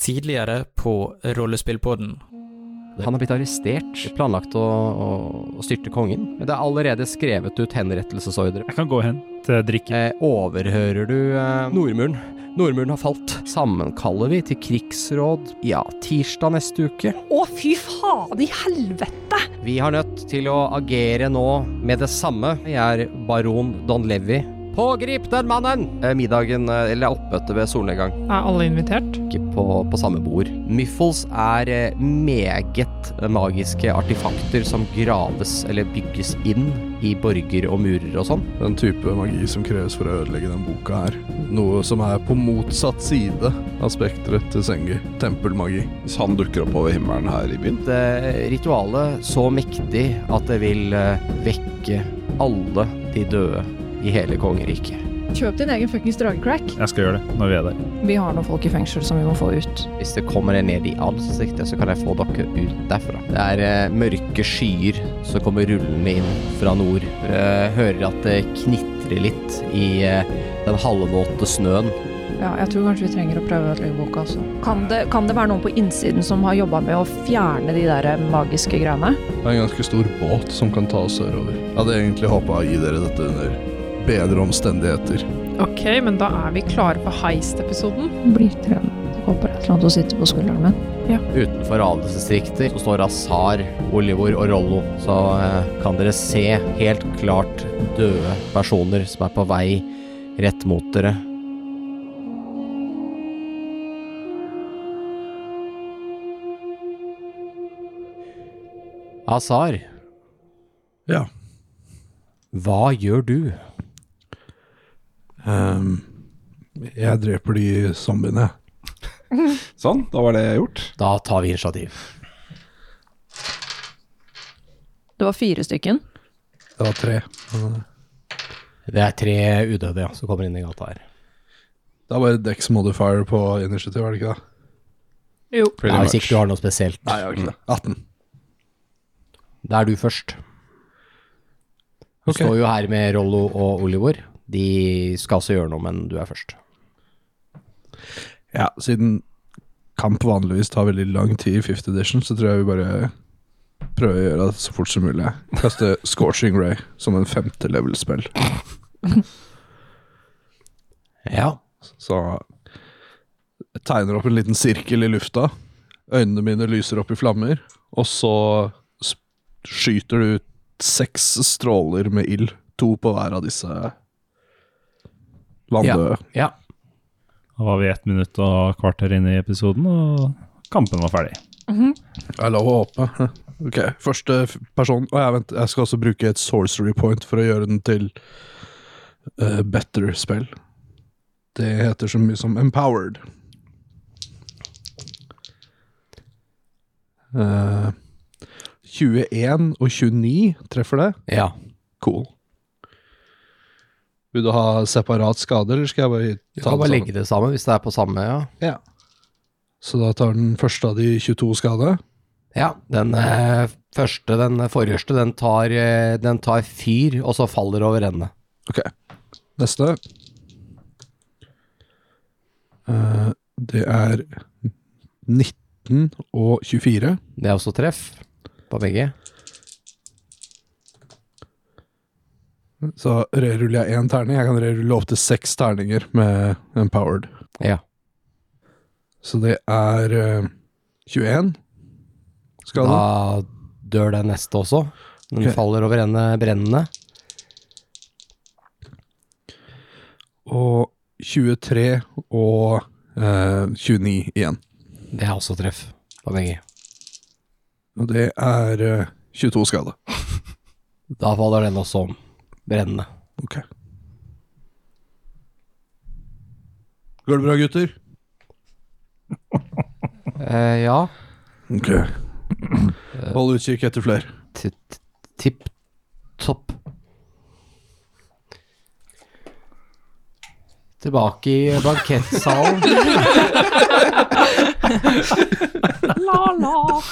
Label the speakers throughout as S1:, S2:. S1: tidligere på Rollespillpodden.
S2: Han er blitt arrestert, planlagt å, å, å styrte kongen. Men det er allerede skrevet ut henrettelsesordre.
S3: Jeg kan gå hen til drikke.
S2: Eh, overhører du eh, Nordmuren? Nordmuren har falt. Sammenkaller vi til krigsråd, ja, tirsdag neste uke.
S4: Å, fy faen i helvete!
S2: Vi har nødt til å agere nå med det samme. Jeg er baron Don Levi. Pågrip den mannen! Eh, Middagen, eh, eller oppmøtet ved solnedgang,
S5: Er alle invitert?
S2: ikke på, på samme bord. Myffles er eh, meget magiske artefakter som graves eller bygges inn i borger og murer og sånn.
S6: Den type magi som kreves for å ødelegge den boka her. Noe som er på motsatt side av spekteret til Sengi. Tempelmagi.
S7: Hvis han dukker opp over himmelen her i byen,
S2: Det Eh, ritualet så mektig at det vil eh, vekke alle de døde i hele kongeriket.
S5: Kjøp din egen fuckings dragecrack.
S3: Jeg skal gjøre det når vi er der.
S5: Vi har noen folk i fengsel som vi må få ut.
S2: Hvis det kommer en ned i ansiktet, så kan jeg få dere ut derfra. Det er eh, mørke skyer som kommer rullende inn fra nord. Dere hører at det knitrer litt i eh, den halvvåte snøen.
S5: Ja, jeg tror kanskje vi trenger å prøve ødeleggeboka også.
S4: Kan det, kan det være noen på innsiden som har jobba med å fjerne de der magiske greiene?
S6: Det er en ganske stor båt som kan ta oss sørover. Jeg hadde egentlig håpa å gi dere dette under bedre omstendigheter.
S5: Ok, men da er vi klare for heist-episoden. Blir trent. Håper et eller annet å sitte på skulderen min.
S2: Utenfor adelsdistrikter så står Azar, Olivor og Rollo. Så eh, kan dere se helt klart døde personer som er på vei rett mot dere. Azar,
S6: Ja.
S2: hva gjør du?
S6: ehm, jeg dreper de zombiene.
S7: sånn, da var det gjort.
S2: Da tar vi initiativ.
S4: Det var fire stykken.
S6: Det var tre.
S2: Det er tre udøde ja, som kommer inn i gata her.
S6: Det er bare Dex modifier på initiativ, er det ikke det?
S5: Jo.
S2: Ja, hvis ikke du har noe spesielt.
S6: Nei, jeg har ikke det. 18.
S2: Da er du først. Du
S6: Ok.
S2: står jo her med Rollo og Olivor. De skal også gjøre noe, men du er først.
S6: Ja, siden kamp vanligvis tar veldig lang tid i 5th edition, så tror jeg vi bare prøver å gjøre det så fort som mulig. Kaste Scorching Ray som en femte level-spill.
S2: Ja.
S6: Så jeg tegner opp en liten sirkel i lufta. Øynene mine lyser opp i flammer, og så s- skyter du ut seks stråler med ild. To på hver av disse vanndøde.
S2: ja.
S3: Da var vi ett minutt og kvarter inne i episoden, og kampen var ferdig.
S6: Det er lov å håpe. Ok, første f- person Å ja, vent, jeg skal også bruke et sorcery point for å gjøre den til eh, better spell. Det heter så mye som empowered. Eh, 21 og 29 treffer det.
S2: Ja.
S6: Cool. Vil du ha separat skade, eller skal jeg bare
S2: Du
S6: ta
S2: kan bare
S6: den
S2: legge
S6: sammen?
S2: det sammen hvis det er på samme, ja.
S6: Ja. Så da tar den første av de 22 skade.
S2: Ja, den eh, første, den forreste, den tar, eh, den tar fyr, og så faller over ende.
S6: Ok, neste. Eh, det er 19 og 24.
S2: Det er også treff på begge.
S6: Så reruller jeg én terning. Jeg kan rerulle opp til seks terninger med Empowered.
S2: Ja.
S6: Så det er eh, 21 skade.
S2: Da dør den neste også. Den
S6: Ok.
S2: faller over ende brennende.
S6: Og 23 og eh, 29 igjen.
S2: Det er også treff på begge.
S6: Og det er eh, 22 skade.
S2: Da faller den også om. Brennende.
S6: Ok. Går det bra, gutter?
S2: Eh, ja.
S6: Ok. Eh. Hold utkikk etter flere.
S2: t- t- tipp topp. Tilbake i bankettsalen.
S5: La-la.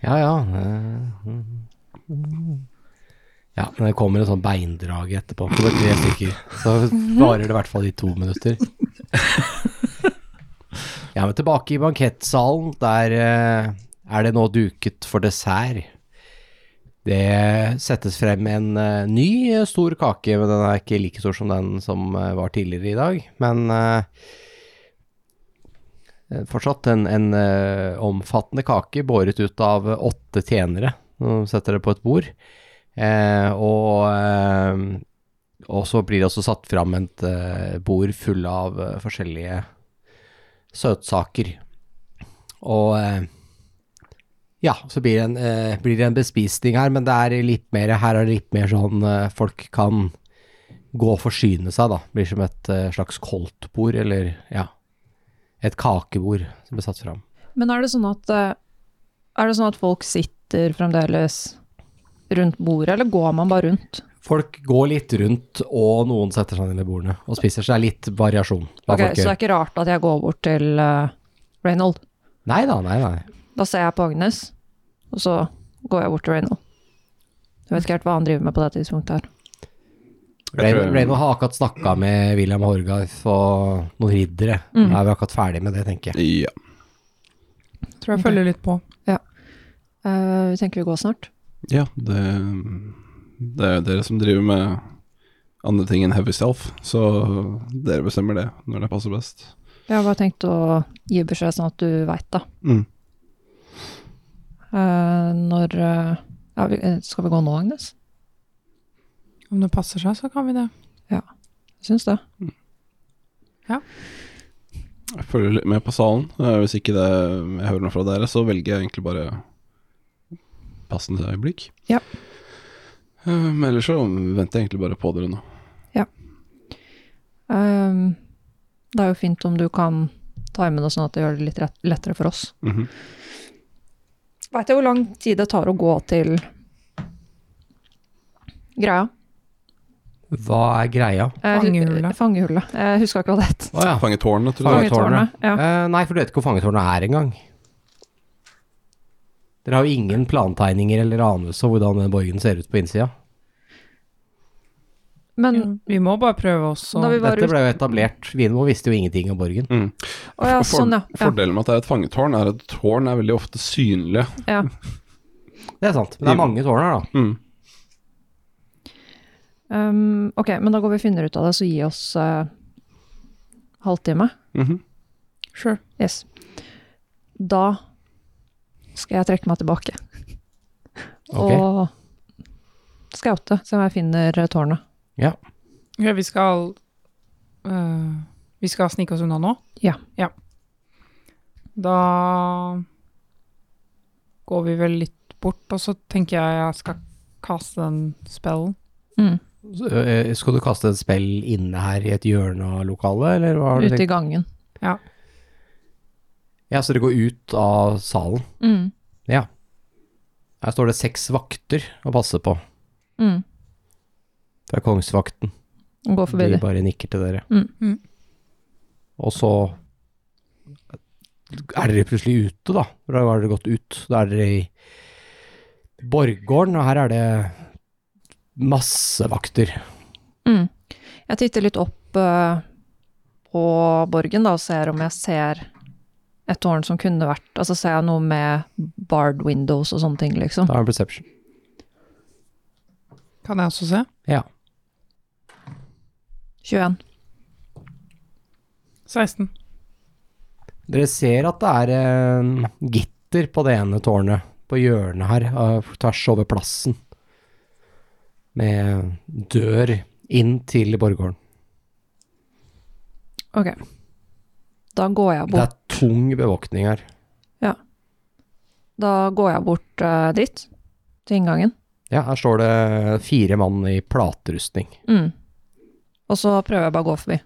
S2: Ja, ja. eh, mm, mm. Ja, men det kommer en sånn beindrage etterpå. Det var tre stykker. Så varer det i hvert fall i to minutter. Jeg er tilbake i bankettsalen. Der eh, er det nå duket for dessert. Det settes frem en eh, ny eh, stor kake, men den er ikke like stor som den som eh, var tidligere i dag. Men eh, eh, fortsatt en, en eh, omfattende kake båret ut av eh, åtte tjenere. Som setter det på et bord. Eh, og eh, og så blir det også satt fram et eh, bord full av eh, forskjellige søtsaker. Og eh, ja, så blir det, en, eh, blir det en bespisning her, men det er litt mer, her er det litt mer sånn eh, folk kan gå og forsyne seg, da. Blir som et eh, slags koldtbord, eller ja, et kakebord som blir satt fram.
S4: Men er det sånn at eh, Er det sånn at folk sitter fremdeles rundt bordet, eller går man bare rundt?
S2: Folk går litt rundt, og noen setter seg ned ved bordene og spiser, så det er litt variasjon.
S4: Ok, Så det er ikke rart at jeg går bort til eh, Reynold.
S2: Nei da, nei, nei.
S4: Da ser jeg på Agnes, og så går jeg bort til Reynold. Jeg vet ikke helt hva han driver med på det tidspunktet her.
S7: Jeg tror-
S2: Reynold har akkurat snakka med William Horgarth og noen riddere.
S4: Mm.
S2: Da er vi akkurat ferdig med det, tenker jeg.
S7: Ja.
S5: Tror jeg følger litt på.
S4: Eh, vi tenker vi går snart.
S7: ja det, det er jo dere som driver med andre ting enn heavy self, så dere bestemmer det når det passer best.
S4: Jeg har bare tenkt å gi beskjed sånn at du veit det.
S7: Mm.
S4: Eh, når eh, ja, vi, eh, Skal vi gå nå, Agnes?
S5: Om det passer seg, så kan vi det.
S4: Jeg syns det.
S7: Jeg følger litt med på salen. Eh, Hvis ikke det, jeg hører noe fra dere, så velger jeg egentlig bare passende øyeblikk.
S5: Ja.
S7: Eh, Men ellers så venter jeg egentlig bare på dere nå.
S4: Ehm, det er jo fint om du kan time det sånn at det gjør det litt rett, lettere for oss.
S7: Mhm.
S4: Veit jeg hvor lang tid det tar å gå til greia?
S2: Hva er greia?
S4: Eh, hu-
S5: Fangehullet.
S4: eh, Fangehullet. Jeg husker ikke hva det het.
S2: Å ja.
S7: Fangetårnet, tror jeg.
S2: Fangetårnet.
S4: Fangetårnet. Ja.
S2: Eh, nei, for du vet ikke hvor fangetårnet er engang. Dere har jo ingen plantegninger eller anelse om hvordan den borgen ser ut på innsida.
S4: Men
S5: Vi må bare prøve oss
S4: da
S5: og
S4: vi var
S2: Dette
S4: ute
S2: ble jo etablert Vinmo visste jo ingenting om borgen.
S7: Mm.
S4: Å ja,
S7: For-
S4: sånn, ja. ja.
S7: Fordelen med at det er et fangetårn, er at tårn er veldig ofte synlige.
S4: ja.
S2: Det er sant, men det er mange tårn her, da.
S7: Mm.
S4: Ehm, ok, men da går vi og finner ut av det, så gi oss eh, halvtime.
S7: Mhm.
S5: Sure.
S4: Yes. Da skal jeg trekke meg tilbake.
S2: Ok.
S4: Og skaute, se om jeg finner eh, tårnet.
S5: Ok, vi skal øh, Vi skal snike oss unna nå?
S4: Ja.
S5: Da går vi vel litt bort, og så tenker jeg jeg skal kaste den spellen.
S4: Mm.
S2: Så, eh, Skal du kaste et spill inne her i et hjørne av lokalet, eller hva har du
S4: Ute i
S2: tenkt?
S4: gangen.
S2: Ja, så dere går ut av salen.
S4: Mm.
S2: Ja. Her står det seks vakter å passe på.
S4: Mm.
S2: Det er kongsvakten.
S4: Gå forbi
S2: De
S4: de.
S2: bare nikker til dere.
S4: Mm.
S5: Mm.
S2: Og så er dere plutselig ute, da. Da har dere gått ut. Da er dere i borggården, og her er det masse vakter.
S4: Mm. Jeg titter litt opp eh, på borgen da, og ser om jeg ser et tårn som kunne vært Altså ser jeg noe med barred windows og sånne ting, liksom.
S2: Da er det perception.
S5: Kan jeg også se?
S2: Ja.
S4: 21.
S5: 16.
S2: Dere ser at det er eh, gitter på det ene tårnet, på hjørnet her, eh, tvers over plassen. Med dør inn til borggården.
S4: Ok. Da går jeg
S2: Det
S4: bort,
S2: er tung bevoktning her.
S4: da går jeg bort eh, dit, til inngangen.
S2: Ja, her står det fire mann i platerustning.
S4: Mm. Og så prøver jeg bare å gå forbi.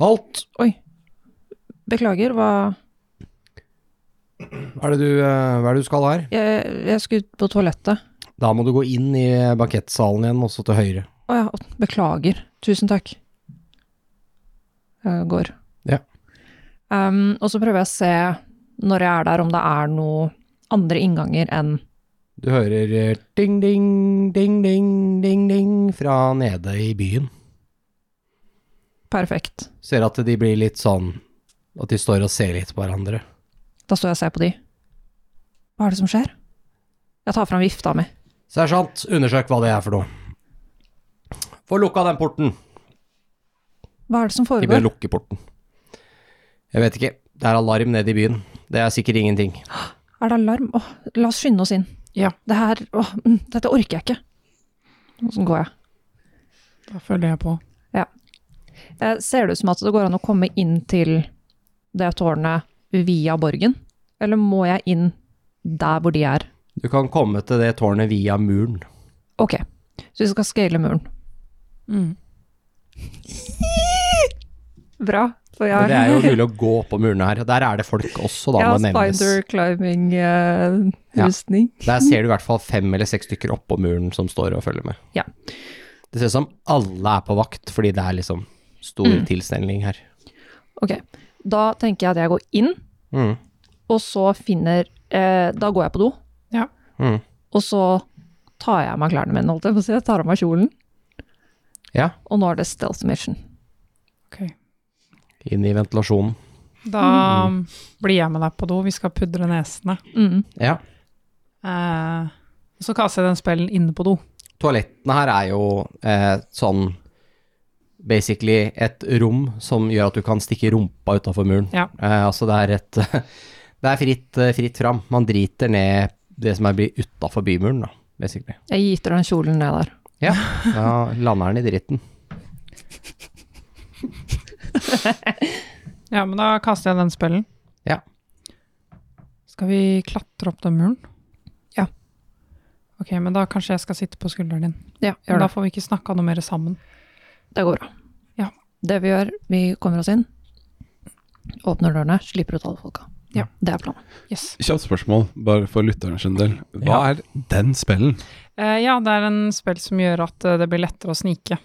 S2: Halt!
S4: Beklager, hva
S2: Hva er det du, eh, hva er det du skal her?
S4: Jeg, jeg skulle på toalettet.
S2: Da må du gå inn i bankettsalen igjen, også til høyre.
S4: Å ja, å, beklager. Tusen takk. Jeg går.
S2: Ja.
S4: Ehm, og så prøver jeg å se, når jeg er der, om det er noe andre innganger enn
S2: Du hører eh, ding, ding, ding, ding, ding, ding fra nede i byen.
S4: perfekt.
S2: Ser at de blir litt sånn At de står og ser litt på hverandre.
S4: Da står jeg og ser på de. Hva er det som skjer? Jeg tar fram vifta mi.
S2: Sersjant, undersøk hva det er for noe. Få lukka den porten.
S4: Hva er det som
S2: De bør
S4: foregår?
S2: lukke porten. Jeg vet ikke. Det er alarm nede i byen. Det er sikkert ingenting.
S4: Er det alarm? Åh, la oss skynde oss inn.
S5: Ja.
S4: Det her, åh, mm, dette orker jeg ikke. Sånn går jeg.
S5: Da følger jeg på.
S4: Eh, ser det ut som at det går an å komme inn til det tårnet via borgen? Eller må jeg inn der hvor de er?
S2: Du kan komme til det tårnet via muren.
S4: Ok, så vi skal scale muren. Bra, for
S2: Men
S4: jeg,
S2: det er jo mulig å gå på murene her. Der er det folk også, da.
S4: jeg har
S2: må nevnes.
S4: spider eh, climbing-rustning.
S2: Der ser du i hvert fall fem eller seks stykker oppå muren som står og følger med.
S4: Ja.
S2: Det ser ut som alle er på vakt, fordi det er liksom stor
S4: Mm.
S2: tilstelning her.
S4: Ok, da tenker jeg at jeg går inn,
S2: Mm.
S4: og så finner eh, Da går jeg på do,
S5: Ja.
S2: Mm.
S4: og så tar jeg av meg klærne mine, holdt jeg på å si. Jeg tar av meg kjolen,
S2: Ja,
S4: og nå er det stealth mission.
S5: Ok.
S2: inn i ventilasjonen.
S5: Da um, blir jeg med deg på do. Vi skal pudre nesene.
S4: Mm.
S2: Ja.
S5: Eh, så kaster jeg den spellen inne på do.
S2: Toalettene her er jo eh, sånn basically et rom som gjør at du kan stikke rumpa utafor muren.
S5: Ja.
S2: Eh, altså det er et Det er fritt, eh, fritt fram. Man driter ned det som er utafor bymuren, da, basically.
S4: Jeg giter den kjolen ned der.
S2: Ja, da lander den i dritten.
S5: Ja, men da kaster jeg den spellen.
S2: Ja.
S5: Skal vi klatre opp den muren?
S4: Ja.
S5: Ok, men da kanskje jeg skal sitte på skulderen din.
S4: Ja,
S5: Men
S4: gjør
S5: da
S4: det.
S5: får vi ikke snakka noe mer sammen.
S4: Det går bra.
S5: Ja.
S4: Det vi gjør, vi kommer oss inn, åpner dørene, slipper ut alle folka.
S5: Ja.
S4: Det er planen.
S5: Yes.
S7: Kjapt spørsmål, bare for lytteren sin del. Hva er den spellen?
S5: Eh, ja, det er en spill som gjør at eh, det blir lettere å snike.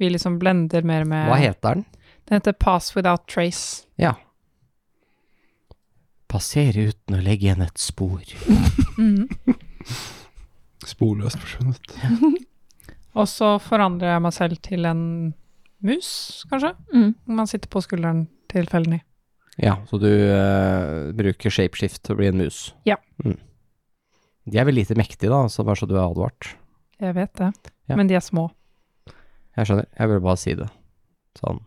S5: Vi liksom blender mer med
S2: Hva heter den?
S5: Den heter Pass Without Trace.
S2: Ja. Passere uten å legge igjen et spor.
S4: Mhm.
S7: Sporløst forsvunnet.
S5: Og så forandrer jeg meg selv til en mus, kanskje?
S4: Mm.
S5: Man sitter på skulderen tilfeldig.
S2: Ja, så du eh, bruker shapeshift til å bli en mus?
S5: Ja.
S2: Mm. De er vel lite mektige, da, så bare så du er advart.
S5: Jeg vet det,
S2: Ja.
S5: men de er små.
S2: Jeg skjønner, jeg ville bare si det. Sånn.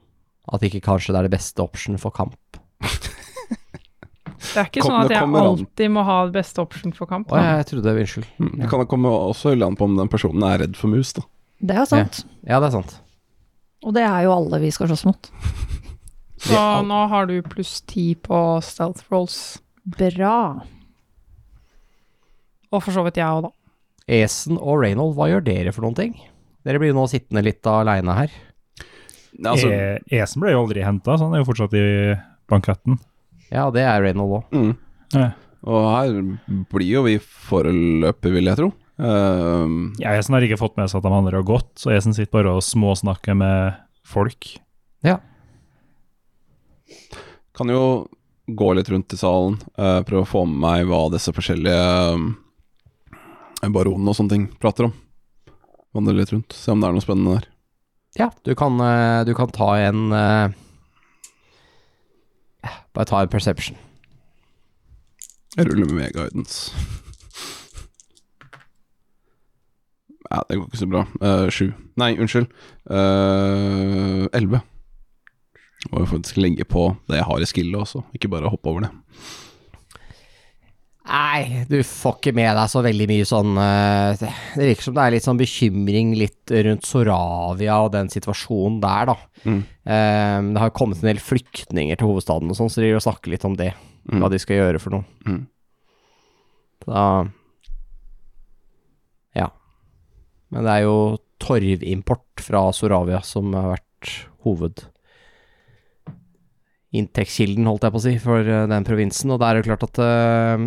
S2: At ikke kanskje det er det beste option for kamp.
S5: Det er ikke
S7: Kom-
S5: sånn at
S7: det
S5: jeg
S7: kommer an.
S5: alltid må ha det beste option for kamp.
S2: Å ja, jeg trodde Unnskyld.
S7: Mm, Det kan jo komme også an på om den personen er redd for mus, da.
S4: Det er sant.
S2: Ja, det er sant.
S4: Og det er jo alle vi skal slåss mot.
S5: Så nå har du pluss ti på stealth rolls.
S4: Bra.
S5: Og for så vidt jeg òg, da.
S2: Esen og Reynold, hva gjør dere for noen ting? Dere blir jo nå sittende litt aleine her.
S7: Nei, altså,
S3: E Esen ble jo aldri henta, så han er jo fortsatt i banketten.
S2: Ja, det er Reynold òg.
S7: mm.
S3: Ja.
S7: Og her blir jo vi foreløpig, vil jeg tro. Ehm,
S3: Ja, Esen har ikke fått med seg at de andre har gått, så Esen sitter bare og småsnakker med folk.
S7: kan jo gå litt rundt i salen, eh, prøve å få med meg hva disse forskjellige eh, baronene og sånne ting prater om. Vandre litt rundt, se om det er noe spennende der.
S2: Ja, du kan, eh, du kan ta en eh, Bare ta en perception.
S7: Jeg ruller med guidance. Nei, det går ikke så bra. Eh, Sju. Nei, unnskyld. Eh, Elleve. Må jo faktisk legge på det jeg har i skillet også, ikke bare hoppe over det.
S2: Nei, du får ikke med deg så veldig mye sånn eh, Det virker som det er litt sånn bekymring litt rundt Soravia og den situasjonen der, da.
S7: Mm.
S2: Eh, det har kommet en del flyktninger til hovedstaden og sånn, så de vil snakke litt om det.
S7: Mm.
S2: Hva de skal gjøre for noe.
S7: Mm.
S2: Da Ja. Men det er jo torvimport fra Soravia som har vært hoved inntektskilden, holdt jeg på å si, for eh, den provinsen. Og da er det jo klart at eh,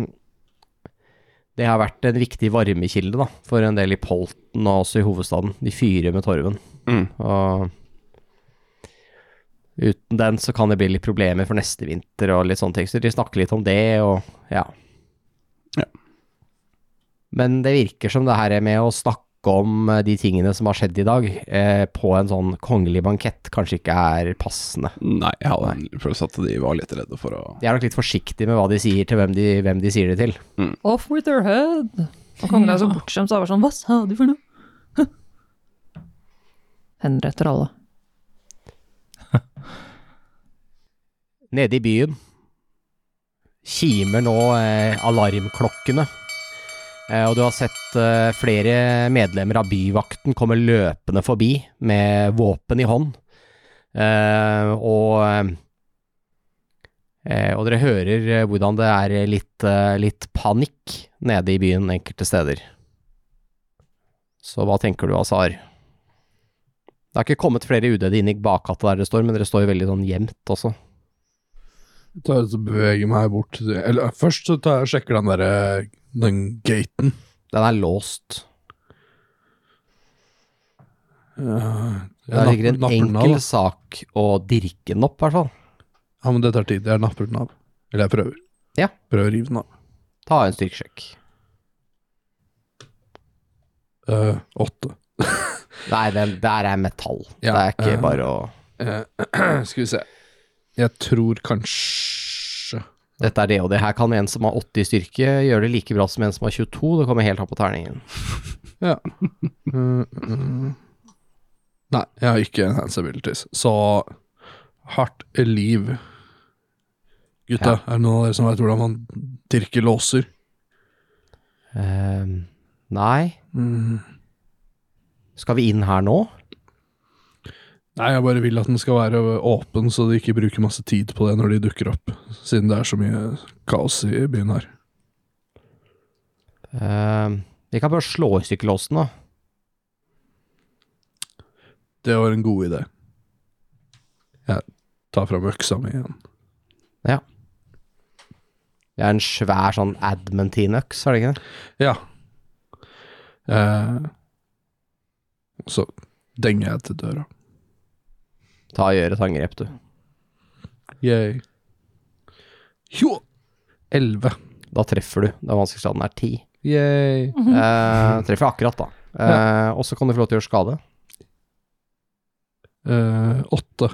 S2: det har vært en viktig varmekilde da, for en del i Polten og også i hovedstaden. De fyrer med torven.
S7: Mm.
S2: Og uten den så kan det bli litt problemer for neste vinter og litt sånne ting. Så de snakker litt om det og ja.
S7: Ja.
S2: Men det virker som det her med å snakke snakke om eh, de tingene som har skjedd i dag, eh, på en sånn kongelig bankett kanskje ikke er passende.
S7: Nei, jeg hadde en følelse at de var litt redde for å
S2: De er nok litt forsiktige med hva de sier til hvem de, hvem de sier det til.
S4: Off with her head! Og kongen er så bortskjemt, så han var sånn Hva sa du for noe? Hæ? Henretter alle.
S2: Nede i byen kimer nå eh, alarmklokkene. Eh, og du har sett eh, flere medlemmer av byvakten komme løpende forbi med våpen i hånd. Eh, og eh, og dere hører eh, hvordan det er litt, eh, litt panikk nede i byen enkelte steder. Så hva tenker du, Azar? Det har ikke kommet flere udøde inn i bakgata der dere står, men dere står jo veldig sånn gjemt også.
S6: Jeg tar, så beveger jeg meg bort til- Eller først så tar jeg og sjekker den derre Den gaten.
S2: Den er låst.
S6: Ja, jeg
S2: Det er sikkert en
S6: napper- napper den av,
S2: enkel
S6: da.
S2: sak å dirke den opp, i hvert fall.
S6: Ja, men det tar tid. Jeg napper den av. Eller jeg prøver.
S2: Ja.
S6: Prøver å rive den av.
S2: Ta en styrkesjekk.
S6: Eh, åtte.
S2: Nei, den der er metall.
S6: Ja,
S2: det er ikke
S6: eh.
S2: bare å
S6: Eh, skal vi se. Jeg tror kanskje
S2: Dette er det og det. Her kan en som har 80 i styrke, gjøre det like bra som en som har 22. Det kommer helt opp på terningen.
S6: Mm, mm. Nei, jeg har ikke enhanced abilities. Så hardt liv. Gutta, er det noen av dere som veit hvordan man dirker låser?
S2: Ehm, nei.
S6: Mm.
S2: Skal vi inn her nå?
S6: Nei, jeg bare vil at den skal være åpen, så de ikke bruker masse tid på det når de dukker opp. Siden det er så mye kaos i byen her.
S2: Ehm, vi kan bare slå i stykker låsen, da.
S6: Det var en god idé. Jeg tar fram øksa mi igjen.
S2: Det er en svær sånn admentine-øks, er det ikke det?
S6: Ja. Eh, så denger jeg til døra.
S2: Ta og Gjør et angrep, du.
S6: Yay. Jo! Elleve.
S2: Da treffer du. Det er vanskelighetsgraden er 10.
S6: Yay.
S2: Ehm, treffer akkurat, da. Ehm, Og så kan du få lov til å gjøre skade.
S6: Eh, åtte.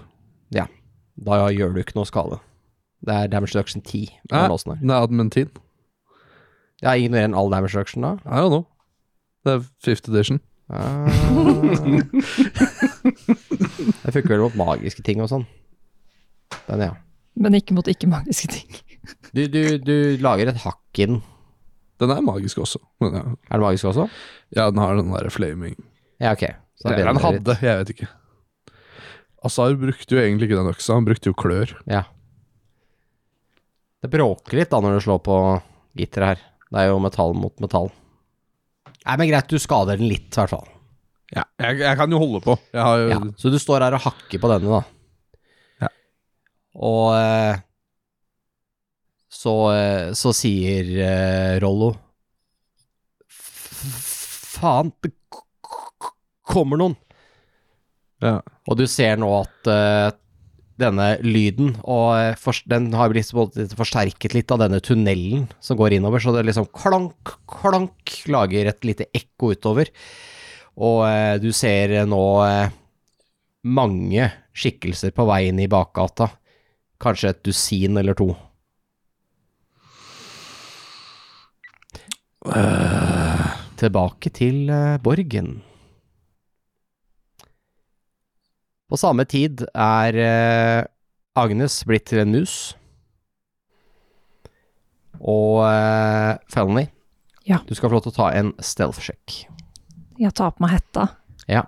S2: Da gjør du ikke noe skade. Det er damage reduction 10. på
S6: Hæ?
S2: den låsen her.
S6: Den er admentin.
S2: Ja, ignorer en all damage reduction, da.
S6: I don't know. Det er fifth edition.
S2: Ah. det funker vel mot magiske ting og sånn. Den, ja.
S4: Men ikke mot ikke-magiske ting.
S2: Du, du, du lager et hakk i den.
S6: Den er magisk også. Men ja,
S2: Er det magisk også?
S6: ja den har den der flaming
S2: Ja, ok. Så
S6: Eller
S2: bedre
S6: han
S2: litt.
S6: hadde, jeg vet ikke. Azar brukte jo egentlig ikke den øksa, han brukte jo klør.
S2: Ja. Det bråker litt da når du slår på gitteret her. Det er jo metall mot metall. Nei, men greit, du skader den litt, i hvert fall.
S6: Ja, jeg, jeg kan jo holde på. Jeg har jo
S2: Ja, så du står her og hakker på denne, da.
S6: Eh, Ja.
S2: Og eh, så, eh, så sier eh, Rollo "F- Faen, det k- k- kommer noen!
S6: Ja.
S2: Og du ser nå at eh, denne lyden, og eh, fors- den har blitt på en måte forsterket litt av denne tunnelen som går innover, så det liksom klank, klank lager et lite ekko utover. Og eh, du ser eh, nå eh, mange skikkelser på vei inn i bakgata. Kanskje et dusin eller to. Tilbake til eh, borgen. På samme tid er eh, Agnes blitt til en mus. Og eh, Felony,
S4: Ja.
S2: du skal få lov til å ta en stealth-sjekk.
S4: Jeg tar på meg hetta.
S2: Ja.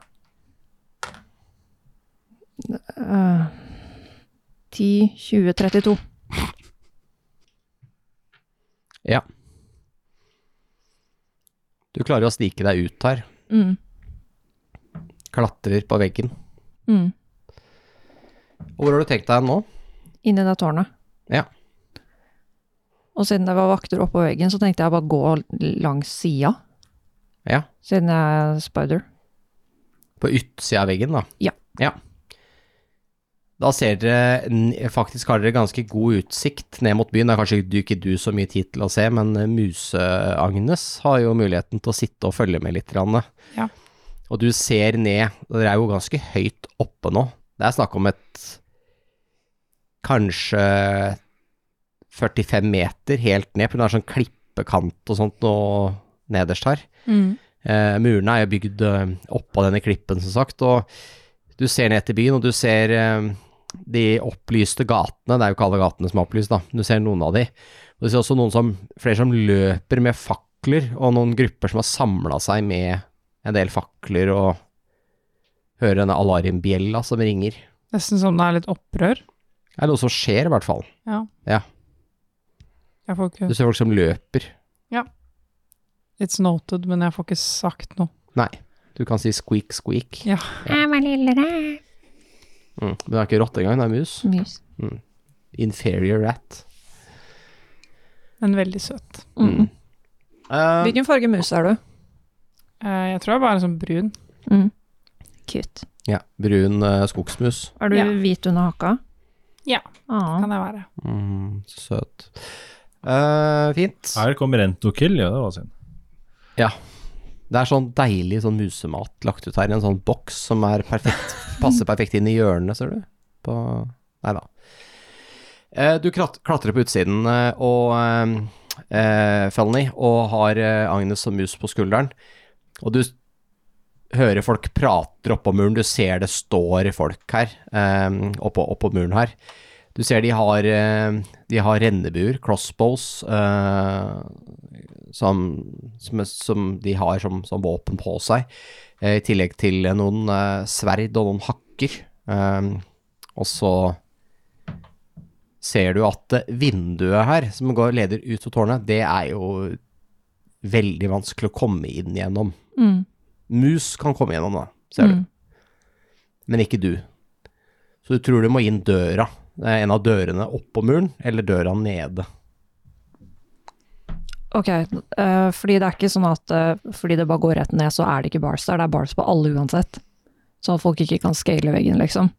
S4: Eh, 10, 20, 32.
S2: Du klarer å snike deg ut her.
S4: Mm.
S2: Klatrer på veggen.
S4: Mm.
S2: Og hvor har du tenkt deg nå?
S4: Inn i det tårnet.
S2: Ja.
S4: Og siden det var vakter oppå veggen, så tenkte jeg bare gå langs sida,
S2: Ja,
S4: siden jeg er spider.
S2: på utsida av veggen, da.
S4: Ja.
S2: Da ser dere n- Faktisk har dere ganske god utsikt ned mot byen. Det er kanskje du- ikke du så mye tid til å se, men eh, Muse-Agnes har jo muligheten til å sitte og følge med litt. grann.
S5: Ja.
S2: Og du ser ned. Dere er jo ganske høyt oppe nå. Det er snakk om et kanskje 45 meter helt ned, på grunn av sånn klippekant og sånt nå nederst her.
S5: Mm.
S2: Eh, murene er jo bygd eh, oppå denne klippen, som sagt, og du ser ned til byen, og du ser eh, de opplyste gatene, det er jo ikke alle gatene som er opplyst, da, du ser noen av de. Og du ser også noen som, flere som løper med fakler, og noen grupper som har samla seg med en del fakler, og hører denne alarmbjella som ringer.
S5: Nesten som det er litt opprør.
S2: Det er noe som skjer, i hvert fall.
S5: Jeg får
S2: Du
S5: ikke,
S2: ser folk som løper.
S5: it's noted, men jeg får ikke sagt noe.
S2: Nei, du kan si squeak, squeak.
S5: Ja.
S2: Mm. Men det er ikke rotte engang, det er mus.
S4: Mus.
S2: Inferior rat.
S5: Men veldig søt.
S4: Mm.
S2: Eh,
S4: Hvilken farge mus er du?
S5: Eh, Jeg tror jeg bare er sånn brun.
S4: Cute.
S2: Ja, brun eh, skogsmus.
S4: Er du
S5: Ja.
S4: hvit under haka?
S5: Ja.
S4: Ah.
S5: Kan jeg være.
S2: Mm, søt. Eh, fint.
S3: Her kom Rentokill, ja, det var synd.
S2: Det er sånn deilig sånn musemat lagt ut her i en sånn boks som er perfekt, passer perfekt inn i hjørnet, ser du. På Nei da. Eh, du krat klatrer på utsiden eh, og eh, eh, Felny, og har eh, Agnes som mus på skulderen. Og du s- hører folk prater oppå muren, du ser det står folk her, eh, oppå, oppå muren her. Du ser de har, eh, de har rennebuer, crossbows, eh, som, som, som de har som, som våpen på seg. Eh, I tillegg til eh, noen eh, sverd og noen hakker. Eh, og så ser du at eh, vinduet her, som går leder ut av tårnet, det er jo veldig vanskelig å komme inn gjennom.
S4: Mm.
S2: Mus kan komme gjennom, da, ser du.
S4: Mm.
S2: Men ikke du. Så du tror du må inn døra. Det er en av dørene oppå muren, eller døra nede.
S4: Ok, eh, fordi det er ikke sånn at eh, fordi det bare går rett ned, så er det ikke bars der. Det er bars på alle uansett. Så folk ikke kan scale veggen, liksom.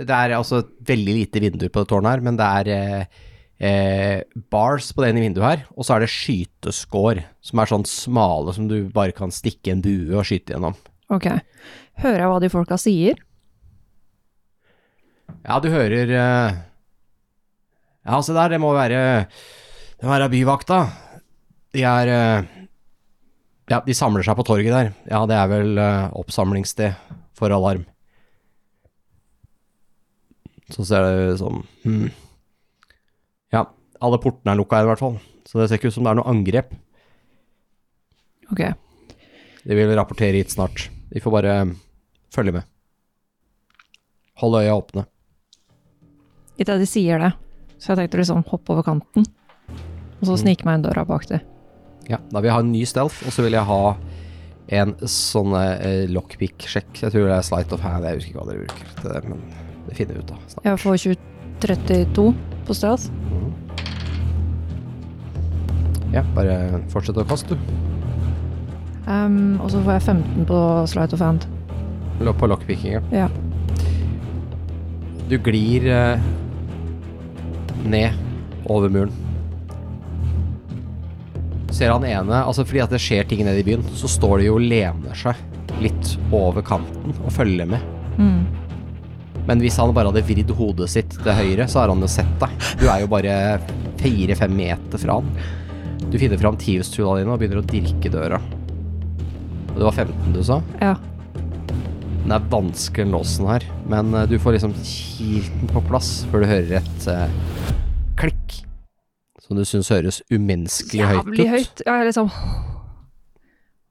S2: Det er altså veldig lite vinduer på det tårnet her, men det er eh, eh, bars på det ene vinduet her, og så er det skyteskår, som er sånn smale som du bare kan stikke en bue og skyte gjennom.
S4: Ok. Hører jeg hva de folka sier?
S2: Ja, du hører eh, Ja, se der, det må være Det må være byvakta. De er eh, Ja, de samler seg på torget der. Ja, det er vel eh, oppsamlingssted for alarm. Så ser det ut som hmm. Ja, alle portene er lukka her i hvert fall, så det ser ikke ut som det er noe angrep.
S4: Ok.
S2: De vil rapportere hit snart. Vi får bare eh, følge med. Hold øya åpne.
S4: Ikke at de sier det. Så jeg tenkte liksom hoppe over kanten. Og
S2: Mm.
S4: så snike meg inn døra bak dem.
S2: Ja, da vil jeg ha en ny stealth, og så vil jeg ha en sånn eh, lockpick-sjekk. Jeg tror det er slight of hand, jeg husker ikke hva dere bruker til det, men det finner vi ut av snart.
S4: Jeg får 2032 på stealth.
S2: Ja, bare fortsett å kaste, du.
S4: Ehm, og så får jeg 15 på Slight of Hand.
S2: Eller På lockpickinga.
S4: Ja.
S2: Du glir eh, ned over muren. Ser han ene Altså fordi at det skjer ting nede i byen, så står de jo og lener seg litt over kanten og følger med.
S4: Mm.
S2: Men hvis han bare hadde vridd hodet sitt til høyre, så har han jo sett deg. Du er jo bare fire-fem meter fra han. Du finner fram tiurstula dine og begynner å dirke døra. Og det var 15 du sa?
S4: Ja.
S2: Den er vanskelig den låsen her, men eh, du får liksom kilt den på plass før du hører et eh, klikk. Som du syns høres umenneskelig høyt ut.
S4: Jævlig høyt. Ja, jeg liksom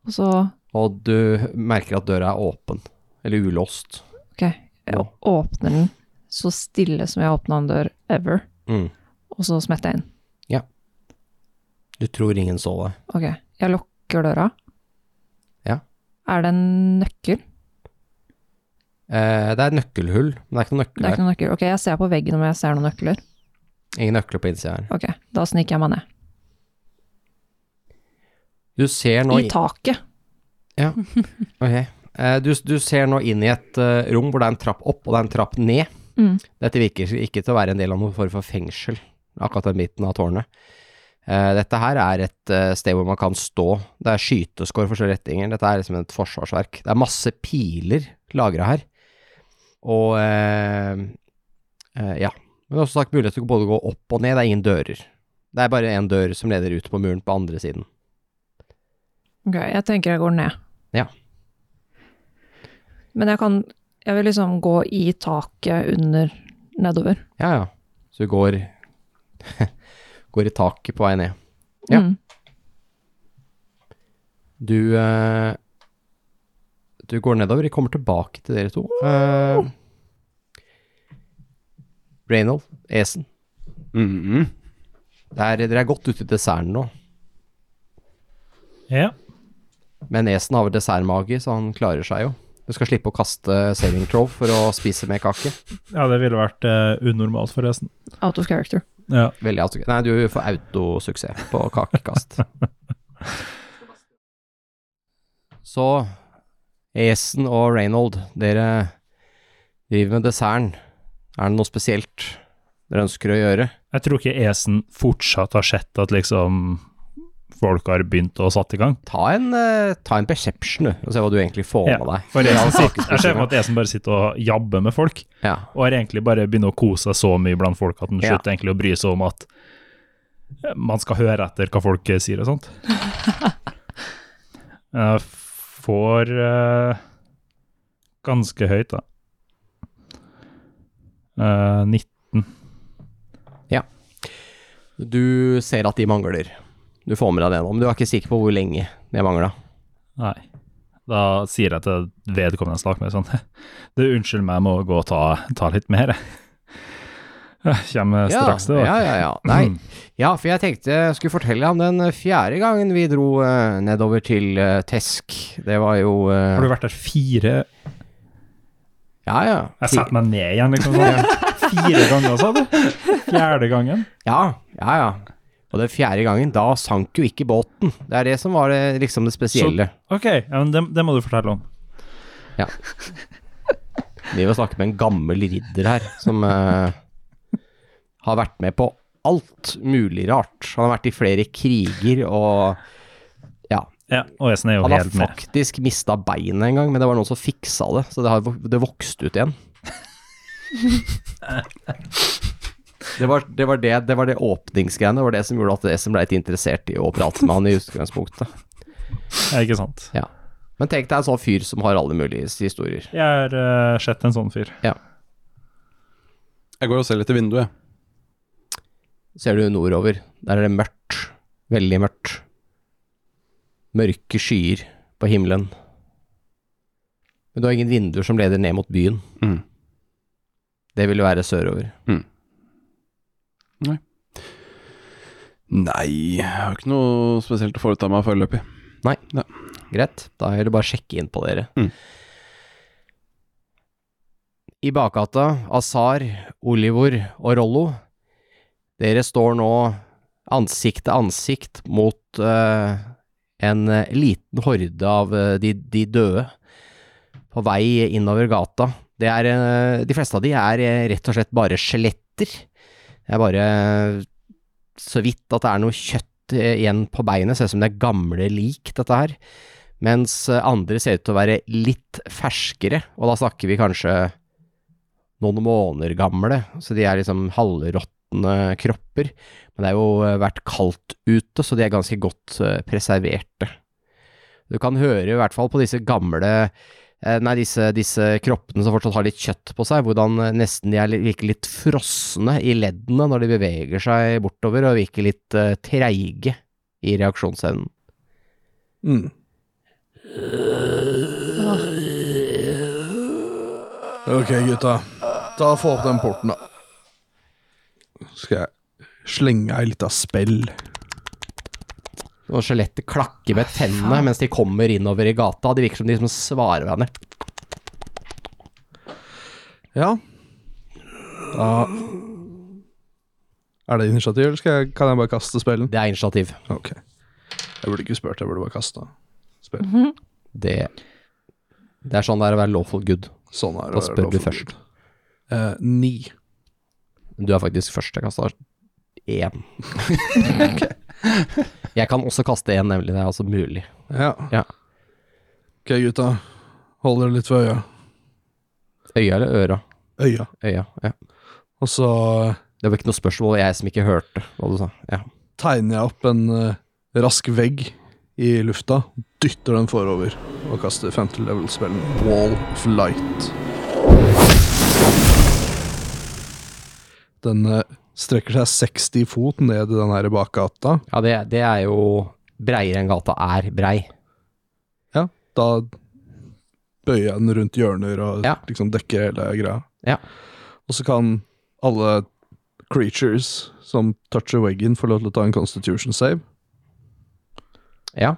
S4: Og så
S2: Og du merker at døra er åpen. Eller ulåst.
S4: Ok, jeg
S2: Nå.
S4: åpner den så stille som jeg åpna en dør ever,
S2: Mm.
S4: og så smetter jeg inn.
S2: Du tror ingen så deg.
S4: Ok, jeg lukker døra.
S2: Ja.
S4: Er det en nøkkel?
S2: Eh, det er nøkkelhull, men det er ikke noen nøkkel
S4: Det er
S2: her.
S4: ikke noen nøkkel. Ok, jeg ser på veggen om jeg ser noen nøkler.
S2: Ingen nøkler på innsida her.
S4: Ok, da sniker jeg meg ned.
S2: Du ser nå
S4: I taket.
S2: Ok. Eh, du, du ser nå inn i et eh, rom hvor det er en trapp opp og det er en trapp ned.
S4: Mm.
S2: Dette virker ikke til å være en del av noen form for fengsel, akkurat den biten av tårnet. Eh, Dette her er et eh, sted hvor man kan stå. Det er skyteskår for forskjellige retninger. Dette er liksom et forsvarsverk. Det er masse piler lagra her. Og eh, eh, ja. Men også sagt mulighet til å både gå opp og ned. Det er ingen dører. Det er bare én dør som leder ut på muren på andre siden.
S4: Ok, jeg tenker jeg går ned.
S2: Ja.
S4: Men jeg kan Jeg vil liksom gå i taket under nedover.
S2: Ja, ja. Så du går går i taket på vei ned. Ja.
S4: Mm.
S2: Du eh, Du går nedover. Jeg kommer tilbake til dere to. Uh, Reynold, Esen.
S7: Mhm.
S2: Mm-hmm. Det er, dere er godt ute i desserten nå,
S3: Ja.
S2: men Esen har vel dessertmage, så han klarer seg jo. Du skal slippe å kaste saving throw for å spise mer kake.
S3: ja, det ville vært eh, unormalt, forresten.
S4: Out of character.
S3: Ja.
S2: Veldig autosuksess. Nei, du får autosuksess på kakekast. Så Esen og Reynold, dere driver med desserten. Er det noe spesielt dere ønsker å gjøre?
S3: Jeg tror ikke Esen fortsatt har sett at liksom folk har begynt å satt i gang.
S2: Ta en, eh, ta en perception, du, og se hva du egentlig får
S3: Ja,
S2: med deg.
S3: For Esen sitter,
S2: kakespisingen.
S3: jeg ser for meg at Esen bare sitter og jabber med folk,
S2: Ja.
S3: og har egentlig bare begynner å kose seg så mye blant folk at han
S2: Ja.
S3: slutter egentlig å bry seg om at eh, man skal høre etter hva folk eh, sier og sånt. Jeg får eh, ganske høyt, da. Eh, 19.
S2: Du ser at de mangler. Du får med deg det nå, men du er ikke sikker på hvor lenge de mangla.
S3: Nei. Da sier jeg til vedkommende jeg snakker med sånn Du, unnskyld meg, jeg må gå og ta, ta litt mer, jeg. Jeg Kommer straks, det. da.
S2: Ja, ja, ja. Nei. Ja, for jeg tenkte jeg skulle fortelle om den fjerde gangen vi dro eh, nedover til eh, Tesk. Det var jo eh,
S3: Har du vært der fire
S2: Ja, ja.
S3: Jeg setter meg ned igjen, liksom. Sånn. Fire ganger, sa du? Fjerde gangen?
S2: Ja, ja, ja. Og den fjerde gangen, da sank jo ikke båten. Det er det som var det, liksom det spesielle.
S3: Ok, ja, men det, det må du fortelle om.
S2: Vi vil snakke med en gammel ridder her, som eh, har vært med på alt mulig rart. Han har vært i flere kriger og ja,
S3: Ja, og Esen er jo
S2: Han har
S3: helt med.
S2: faktisk mista beinet en gang, men det var noen som fiksa det, så det, har, det vokste ut igjen. Det var det, var det, det, var det åpningsgreiene, det var det som gjorde at Esen ble litt interessert i å prate med han i utgangspunktet.
S3: Ja, ikke sant.
S2: Ja. Men tenk deg en sånn fyr som har alle mulige historier.
S3: Jeg har eh, sett en sånn fyr.
S7: Jeg går og ser litt i vinduet, jeg.
S2: Ser du nordover, der er det mørkt. Veldig mørkt. Mørke skyer på himmelen. Men du har ingen vinduer som leder ned mot byen.
S7: Mhm.
S2: Det ville være sørover.
S7: Nei, jeg har ikke noe spesielt å foreta meg foreløpig.
S2: Greit, da gjelder det bare å sjekke inn på dere.
S7: Mm.
S2: I bakgata, Azar, Olivor og Rollo, dere står nå ansikt til ansikt mot eh, en eh, liten horde av eh, de, de døde på vei innover gata. Det er, eh, de fleste av de er eh, rett og slett bare skjeletter. Det er bare eh, så vidt at det er noe kjøtt eh, igjen på beinet, ser ut som det er gamle lik, dette her mens eh, andre ser ut til å være litt ferskere, og da snakker vi kanskje noen måneder gamle, så de er liksom halvråtne kropper. Men det har jo eh, vært kaldt ute, så de er ganske godt eh, preserverte. Du kan høre i hvert fall på disse gamle eh, Nei, disse, disse kroppene som fortsatt har litt kjøtt på seg, hvordan eh, nesten de er li- virker litt frosne i leddene når de beveger seg bortover, og virker litt eh, treige i reaksjonsevnen.
S6: Mm. Ok, gutta. Ta og Få opp den porten, da. Skal jeg slenge ei lita spell.
S2: Og skjelettet klakker med tennene mens de kommer innover i gata. Det virker som de liksom svarer hverandre.
S6: Ja. Da Er det initiativ, eller skal jeg, kan jeg bare kaste spellen?
S2: Det er initiativ.
S6: Ok. Jeg burde ikke spurt, jeg burde bare kasta.
S2: Det, det er sånn det er å være lawful good.
S6: Sånn er
S2: Da
S6: å være
S2: spør du
S6: lovforbud.
S2: først.
S6: Eh, ni.
S2: Du er faktisk først. Jeg kasta én. jeg kan også kaste én, nemlig. Det er altså mulig.
S6: Ja.
S2: Ja.
S6: Ok, gutta. Hold dere litt ved øya.
S2: Øya eller øra?
S6: Øya.
S2: Øya, ja.
S6: Og så
S2: Det var ikke noe spørsmål, jeg som ikke hørte hva du sa. Ja.
S6: tegner jeg opp en eh, rask vegg i lufta, dytter den forover og kaster femte level-spillen Wall of Light. Den eh, strekker seg 60 fot ned i den her bakgata.
S2: ja, det, det er jo breiere enn gata er brei.
S6: Da bøyer jeg den rundt hjørner og
S2: Ja.
S6: liksom dekker hele greia.
S2: Ja.
S6: Og så kan alle creatures som toucher veggen, få lov til å ta en constitution save.
S2: Ja.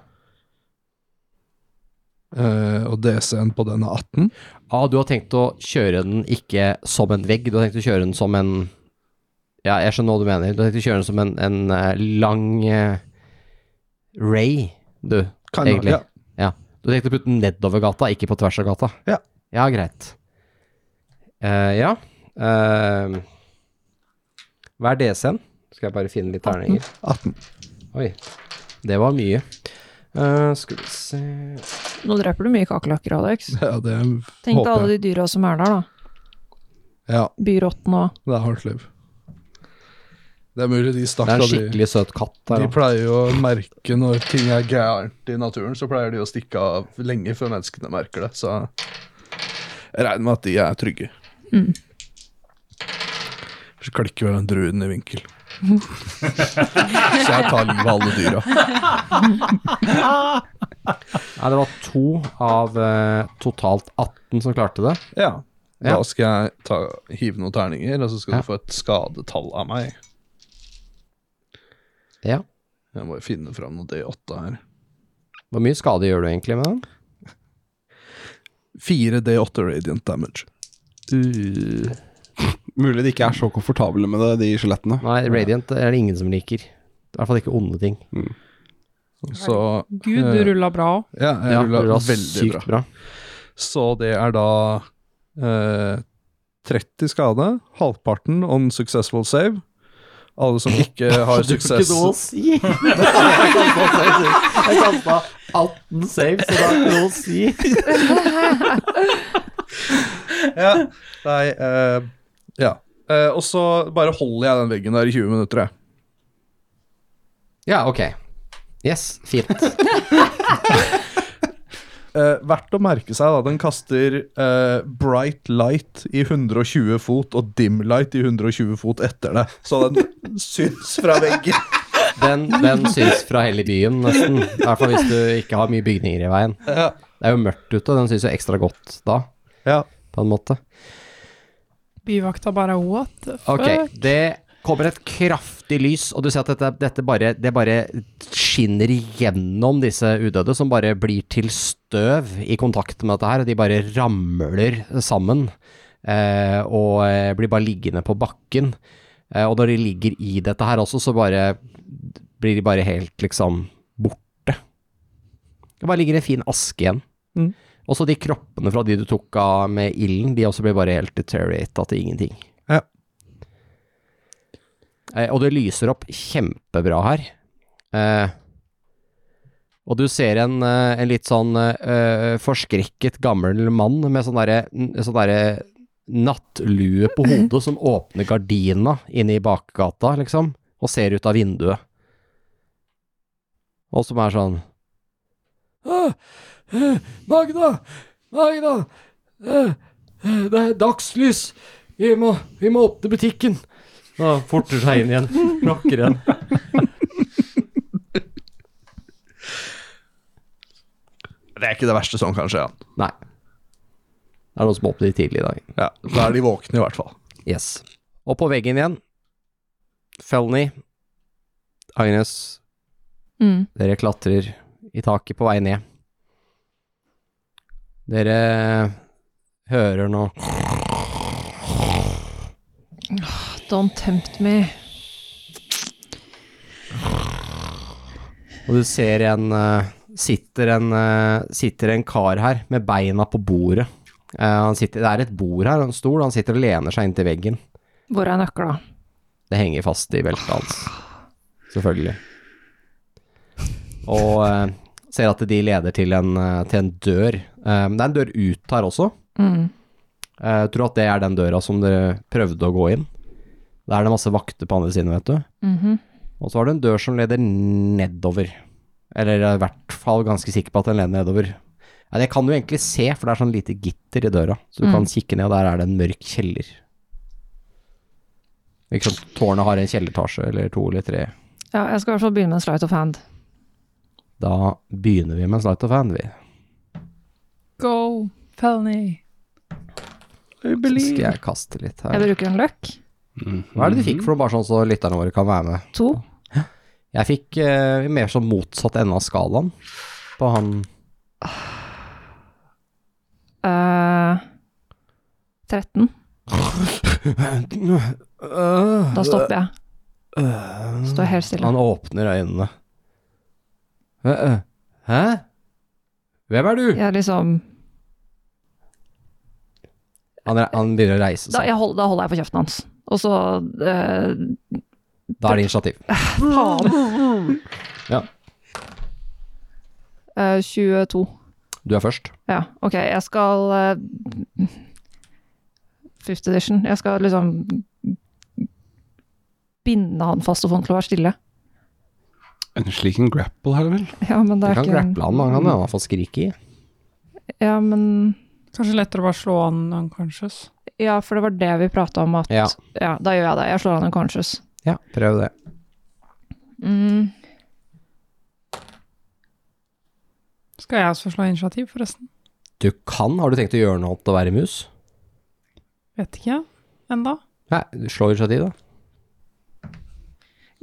S6: Eh, og DC-en på den er 18.
S2: Ah, du har tenkt å kjøre den ikke som en vegg, du har tenkt å kjøre den som en Ja, jeg skjønner hva du mener. Du har tenkt å kjøre den som en, en eh, lang eh, ray, du,
S6: Kan jeg-
S2: egentlig.
S6: Ja.
S2: Ja. Du har tenkt å putte den nedover gata, ikke på tvers av gata.
S6: Ja.
S2: Ja, greit. Eh, ja. Eh, hva er DC-en? Skal jeg bare finne litt terninger.
S6: 18.
S2: Oi, det var mye. Eh, skal vi se
S4: Nå dreper du mye kakerlakker, Alex.
S6: Ja, det
S4: Tenk deg
S6: håper
S4: alle
S6: jeg.
S4: de dyra som er der, da.
S6: Ja,
S4: Byrotten og
S6: det er hardt liv. Det er mulig de
S2: Det er
S6: stakk
S2: en
S6: av de.
S2: skikkelig søt katt der.
S6: De
S2: da.
S6: pleier jo å merke når ting er gærent i naturen, så pleier de å stikke av lenge før menneskene merker det, så jeg regner med at de er trygge.
S4: Mm.
S6: Så klikker vel den druen i vinkel. så jeg tar livet av alle dyra.
S2: Nei, det var to av eh, totalt 18 som klarte det.
S6: Ja. Da
S2: Ja.
S6: skal jeg ta, hive noen terninger, og så skal
S2: Ja.
S6: du få et skadetall av meg.
S2: Ja.
S6: Jeg må jo finne fram noe D8 her.
S2: Hvor mye skade gjør du egentlig med den?
S6: 4 D8 radiant damage.
S7: Mulig de ikke er så komfortable med det, de skjelettene.
S2: Nei, Radiant er det ingen som liker. I hvert fall ikke onde ting.
S6: Så
S5: Gud, du rulla bra òg.
S6: ja, jeg
S2: Ja,
S6: rulla
S2: du var
S6: veldig bra.
S2: sykt bra.
S6: Så det er da eh, 30 skade, halvparten on successful save. Alle som ikke har suksess
S2: si! Jeg kasta 18 saves, så det er ikke noe å si.
S6: ja, nei, eh, ja. Eh, og så bare holder jeg den veggen der i 20 minutter, jeg.
S2: Ja, ok. Yes, fint.
S6: Eh, verdt å merke seg, da. Den kaster eh, bright light i 120 fot og dim light i 120 fot etter det. Så den syns fra veggen.
S2: Den, den syns fra hele byen, nesten. I hvert fall hvis du ikke har mye bygninger i veien.
S6: Ja.
S2: Det er jo mørkt ute, og den syns jo ekstra godt da,
S6: Ja.
S2: på en måte.
S5: Byvakta bare what the fuck?
S2: Ok, det kommer et kraftig lys, og du ser at dette, dette bare, det bare skinner gjennom disse udøde, som bare blir til støv i kontakt med dette her, og de bare ramler sammen, eh, og eh, blir bare liggende på bakken. Eh, og når de ligger i dette her også, så bare blir de bare helt liksom borte. Det bare ligger en fin aske igjen.
S6: Mm.
S2: Også de kroppene fra de du tok av med ilden, de også blir bare helt deteriorata til ingenting. Eh, og det lyser opp kjempebra her. Eh, og du ser en, eh, en litt sånn eh, forskrekket gammel mann med sånn derre sånn derre nattlue på hodet som åpner gardina inne i bakgata, liksom, og ser ut av vinduet. Og som er sånn «Åh, eh, Magna! Magna! Eh, eh, Det er dagslys! Vi må, vi må åpne butikken! Da forter seg inn igjen. Klokker igjen.
S6: Det er ikke det verste sånn, kanskje. Ja.
S2: Nei. Det er noen som åpner litt tidlig i dag.
S6: Ja, Da er de våkne, i hvert fall.
S2: Yes. Og på veggen igjen. Felny, Agnes,
S4: Mm.
S2: dere klatrer i taket på vei ned. Dere hører nå
S4: Don't tempt me.
S2: Og du ser en eh, sitter en, eh, sitter en kar her med beina på bordet Eh, han sitter, det er et bord her og en stol, og han sitter og lener seg inntil veggen.
S4: Hvor er nøkla?
S2: Det henger fast i beltet hans. Selvfølgelig. Og eh, ser at de leder til en, eh, til en dør. Eh, men det er en dør ut her også.
S4: Mm.
S2: Eh, tror at det er den døra som dere prøvde å gå inn. Der er det masse vakter på andre siden, vet du.
S4: Mhm.
S2: Og så har du en dør som leder nedover. Eller jeg er i hvert fall ganske sikker på at den leder nedover. Ja, det kan du egentlig se, for det er sånn lite gitter i døra. Så du
S4: Mm.
S2: kan kikke ned, og der er det en mørk kjeller. Ikke sant, tårnet har en kjelleretasje, eller to eller tre.
S4: Ja, jeg skal i hvert fall begynne med en slight of hand.
S2: Da begynner vi med en slight of hand, vi.
S5: Go, Felny. I
S2: Så
S5: believe.
S2: skal jeg kaste litt
S4: Jeg
S2: her.
S4: bruker en løk.
S2: Hva er det du
S5: Mm.
S2: fikk for noe, bare sånn så lytterne våre kan være med?
S4: To.
S2: Jeg fikk eh, mer sånn motsatt ende av skalaen på han
S4: Eh, 13. Da stopper jeg.
S2: Øh.
S4: Står helt stille.
S2: Han åpner øynene. Hæ? Hæ? Hvem er du?
S4: Jeg liksom
S2: Han, re- han begynner å reise
S4: Da,
S2: seg.
S4: jeg hold, da holder jeg på kjeften hans. Og så eh,
S2: Da er det initiativ. Ja.
S4: eh, 22.
S2: Du er først.
S4: Ja, ok. Jeg skal eh, Fifth edition. Jeg skal liksom binde han fast og få han til å være stille.
S7: En slik en grapple her, vel?
S4: Ja, men det
S2: Du
S4: er
S2: kan
S4: ikke
S2: grapple han, men han kan i hvert fall skrike i.
S4: Ja, men
S5: Kanskje lettere å bare slå han unconscious.
S4: Ja, for det var det vi prata om, at
S2: Ja.
S4: ja, da gjør jeg det. Jeg slår han unconscious.
S2: Ja, prøv det.
S4: Mm.
S5: Skal jeg også slå initiativ, forresten?
S2: Du kan. Har du tenkt å gjøre noe til å være mus?
S5: Vet ikke enda.
S2: Nei, slå initiativ, da.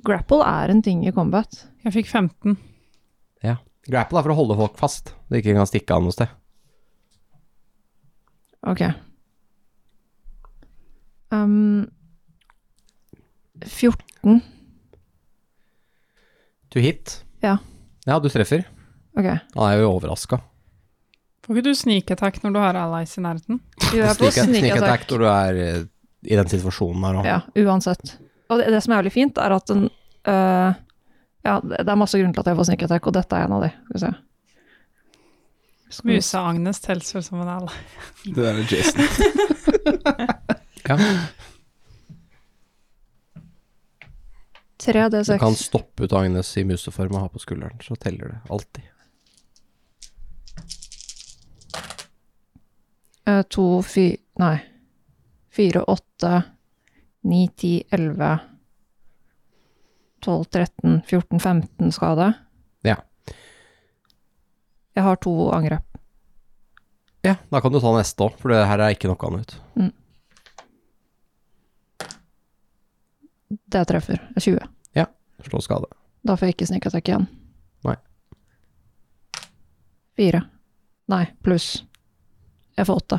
S4: Grapple er en ting i combat.
S5: Jeg fikk 15.
S2: Grapple er for å holde folk fast, de ikke kan stikke av noe sted.
S4: Ok. Um, 14.
S2: To hit.
S4: Ja.
S2: Ja, du treffer.
S4: Ok.
S2: Han er jo overraska.
S5: Får ikke du sneak attack når du har allies i nærheten?
S4: Du er på sneak attack.
S2: når du er eh, i den situasjonen her òg.
S4: Ja, uansett. Og det, det som er veldig fint, er at den øh, Ja, det det er masse grunn til at jeg får sneak attack, og dette er en av de. Skal vi se. Skal vi se.
S5: Muse Agnes telles vel som en ally.
S7: Det der er Jason.
S4: Tre
S2: Du kan
S4: D6.
S2: stoppe ut Agnes i museform og ha på skulderen, så teller det alltid.
S4: Eh, to, fi... Nei. Fire, åtte, ni, ti, elleve, tolv, tretten, fjorten, femten skade.
S2: Ja.
S4: Jeg har to angrep.
S2: Ja, da kan du ta neste òg, for det her er ikke noe annet.
S4: Det treffer. 20.
S2: Slå skade.
S4: Da får jeg ikke sneak attack igjen.
S2: Nei.
S4: Fire. Nei, pluss. Jeg får åtte.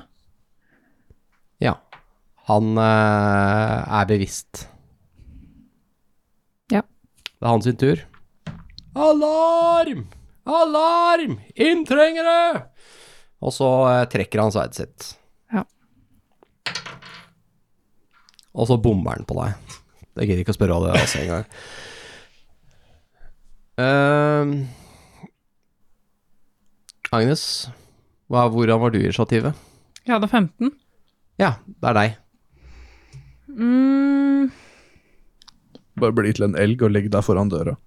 S2: Ja. Han eh, er bevisst.
S4: Ja.
S2: Det er hans sin tur. Alarm! Alarm! Inntrengere! Og så eh, trekker han sverdet sitt.
S4: Ja.
S2: Og så bommer han på deg. Jeg gidder ikke å spørre hva det er altså, engang. Uh, Agnes, hva, hvordan var du i initiativet?
S5: Jeg hadde 15.
S2: Ja, det er deg.
S5: Mm,
S6: Bare bli til en elg og legg deg foran døra.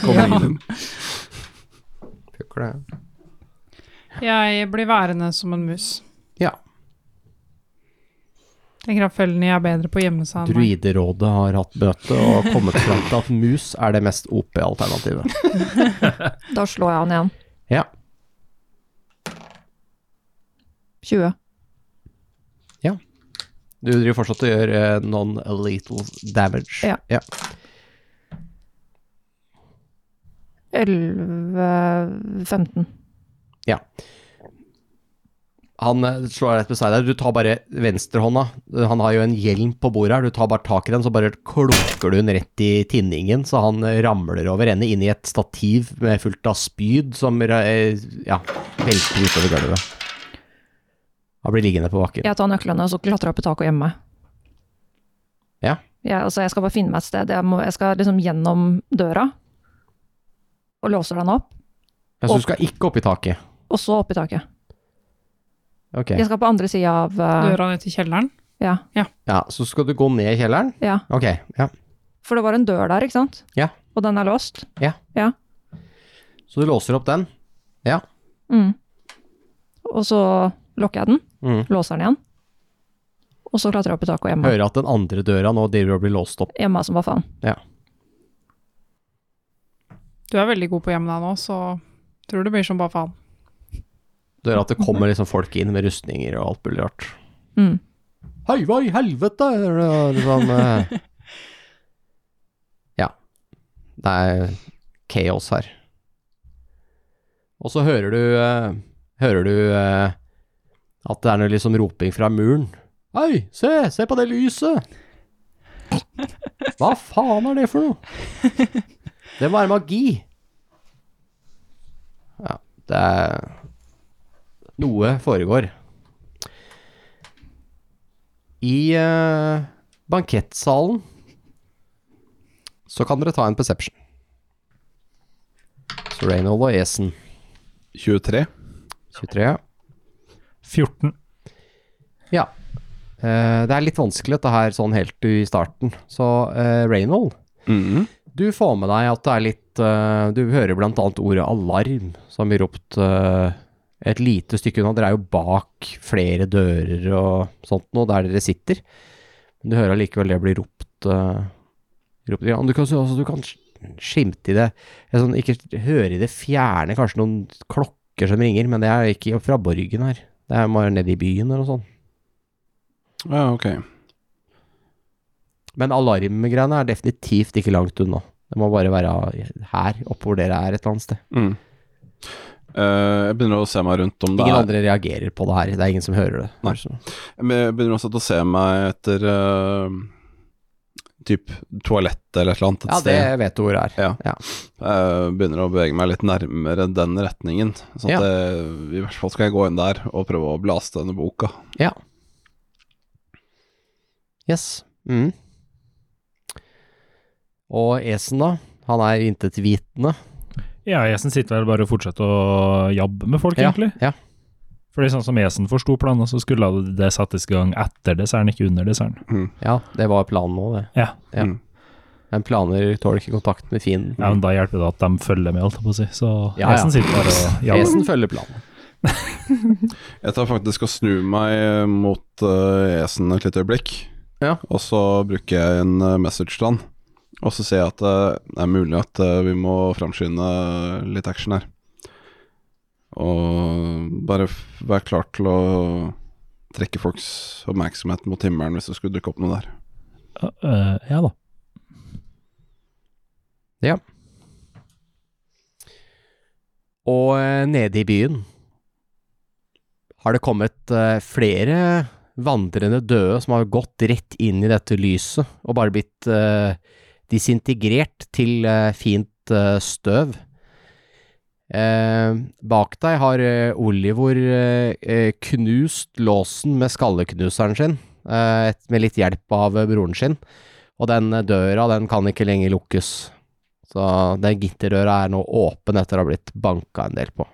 S7: Kom
S5: Ja.
S7: inn.
S2: Funker det?
S5: jeg blir værende som en mus.
S2: Ja.
S5: Tenker at fellene er bedre på å gjemme seg enn meg.
S2: Druiderådet har hatt møte og kommet fram til at mus er det mest OP-alternativet.
S4: Da slår jeg han igjen.
S2: Ja.
S4: 20.
S2: Du driver fortsatt og gjør eh, non-lethal damage.
S4: Ja. 11 15.
S2: Han eh, slår rett beside deg. Du tar bare venstrehånda. Han har jo en hjelm på bordet her. Du tar bare tak i den, så bare klukker du den rett i tinningen, så han eh, ramler over ende inn i et stativ med fullt av spyd som ra- eh, ja, velter utover gulvet. Han blir liggende på bakken.
S4: Jeg tar nøklene og så klatrer jeg opp i taket og gjemmer meg.
S2: Ja.
S4: Jeg, altså, jeg skal bare finne meg et sted. Jeg, må, jeg skal liksom gjennom døra og låser den opp,
S2: Ja, så du skal ikke opp i taket?
S4: og så opp i taket.
S2: Ok.
S4: Jeg skal på andre sida av eh,
S5: Døra ned til kjelleren.
S4: ja,
S2: Ja, så skal du gå ned i kjelleren?
S4: ja.
S2: Ok, ja.
S4: For det var en dør der, ikke sant?
S2: Ja.
S4: Og den er låst?
S2: Så du låser opp den?
S4: Mm. Og så lukker jeg den,
S2: Mm.
S4: låser den igjen, og så klatrer jeg opp i taket og gjemmer meg.
S2: Hører at den andre døra nå driver og blir låst opp.
S4: Gjemmer meg som bare faen.
S5: Du er veldig god på å gjemme deg nå, så tror det blir som bare faen.
S2: Døra at det kommer liksom folk inn med rustninger og alt mulig rart.
S4: Mm.
S2: Hei, hva i helvete? Eller Sånn eh. Ja. Det er kaos her. Og så hører du eh, Hører du eh, at det er noe liksom roping fra muren. Hei, se! Se på det lyset! Hva faen er det for noe? Det må være magi. Ja, det er Noe foregår. I eh, bankettsalen så kan dere ta en perception. Så Reynold og Esen,
S7: 23.
S2: 23. ja.
S3: 14.
S2: Ja. Eh, det er litt vanskelig dette her sånn helt i starten. Så eh, Reynold,
S7: Mhm.
S2: du får med deg at det er litt eh, Du hører blant annet ordet alarm som blir ropt eh, et lite stykke unna. Dere er jo bak flere dører og sånt nå, der dere sitter. Men du hører allikevel det blir ropt, eh, ropt ja, Du kan, altså, du kan skimte i det jeg sånn, Ikke høre i det fjerne kanskje noen klokker som ringer, men det er ikke fra borgen her. Det er bare nede i byen eller noe sånt.
S7: Ja, ok.
S2: Men alarmgreiene er definitivt ikke langt unna. Det må bare være her, oppe hvor dere er et eller annet sted.
S7: Mm. Eh, jeg begynner å se meg rundt om det
S2: Ingen
S7: er
S2: andre reagerer på det her. Det er ingen som hører det. sånn.
S7: Nei.
S2: Så-
S7: Men Jeg begynner også å se meg etter uh, typ toalett eller et eller annet. Et
S2: Ja,
S7: sted.
S2: det vet du hvor det er.
S7: Ja.
S2: Ja.
S7: Jeg begynner å bevege meg litt nærmere den retningen. Så at
S2: Ja.
S7: det, i hvert fall skal jeg gå inn der og prøve å blaste denne boka.
S2: Yes. Mm. Og Esen, da? Han er intetvitende.
S3: Ja, Esen sitter vel bare og fortsetter å jabbe med folk,
S2: Ja,
S3: egentlig.
S2: ja.
S3: Fordi sånn som Esen forsto planen, så skulle det settes i gang etter desserten, ikke under desserten.
S2: Ja, det var planen nå, det.
S3: Ja.
S2: Ja.
S7: Mm.
S2: Men planer tåler ikke kontakt med fienden.
S3: Ja, men da hjelper det at de følger med, holdt jeg på å si. Så
S2: Ja, ja.
S3: Esen sitter bare og jabber.
S2: Esen følger planen.
S7: Jeg tar faktisk og snur meg eh, mot eh, Esen et lite øyeblikk.
S2: Ja.
S7: Og så bruker jeg en eh, message til han. Og så ser jeg at eh, det er mulig at eh, vi må framskynde eh, litt action her. Og bare f- være klar til å trekke folks oppmerksomhet mot himmelen hvis det skulle dukke opp noe der.
S3: Eh, ja da.
S2: Og eh, nede i byen har det kommet eh, flere vandrende døde som har gått rett inn i dette lyset og bare blitt eh, disintegrert til eh, fint eh, støv. Eh, bak deg har eh, Olivor eh, eh, knust låsen med skalleknuseren sin, eh, et- med litt hjelp av eh, broren sin, og den eh, døra den kan ikke lenger lukkes. Så den gitterdøra er nå åpen etter å ha blitt banka en del på.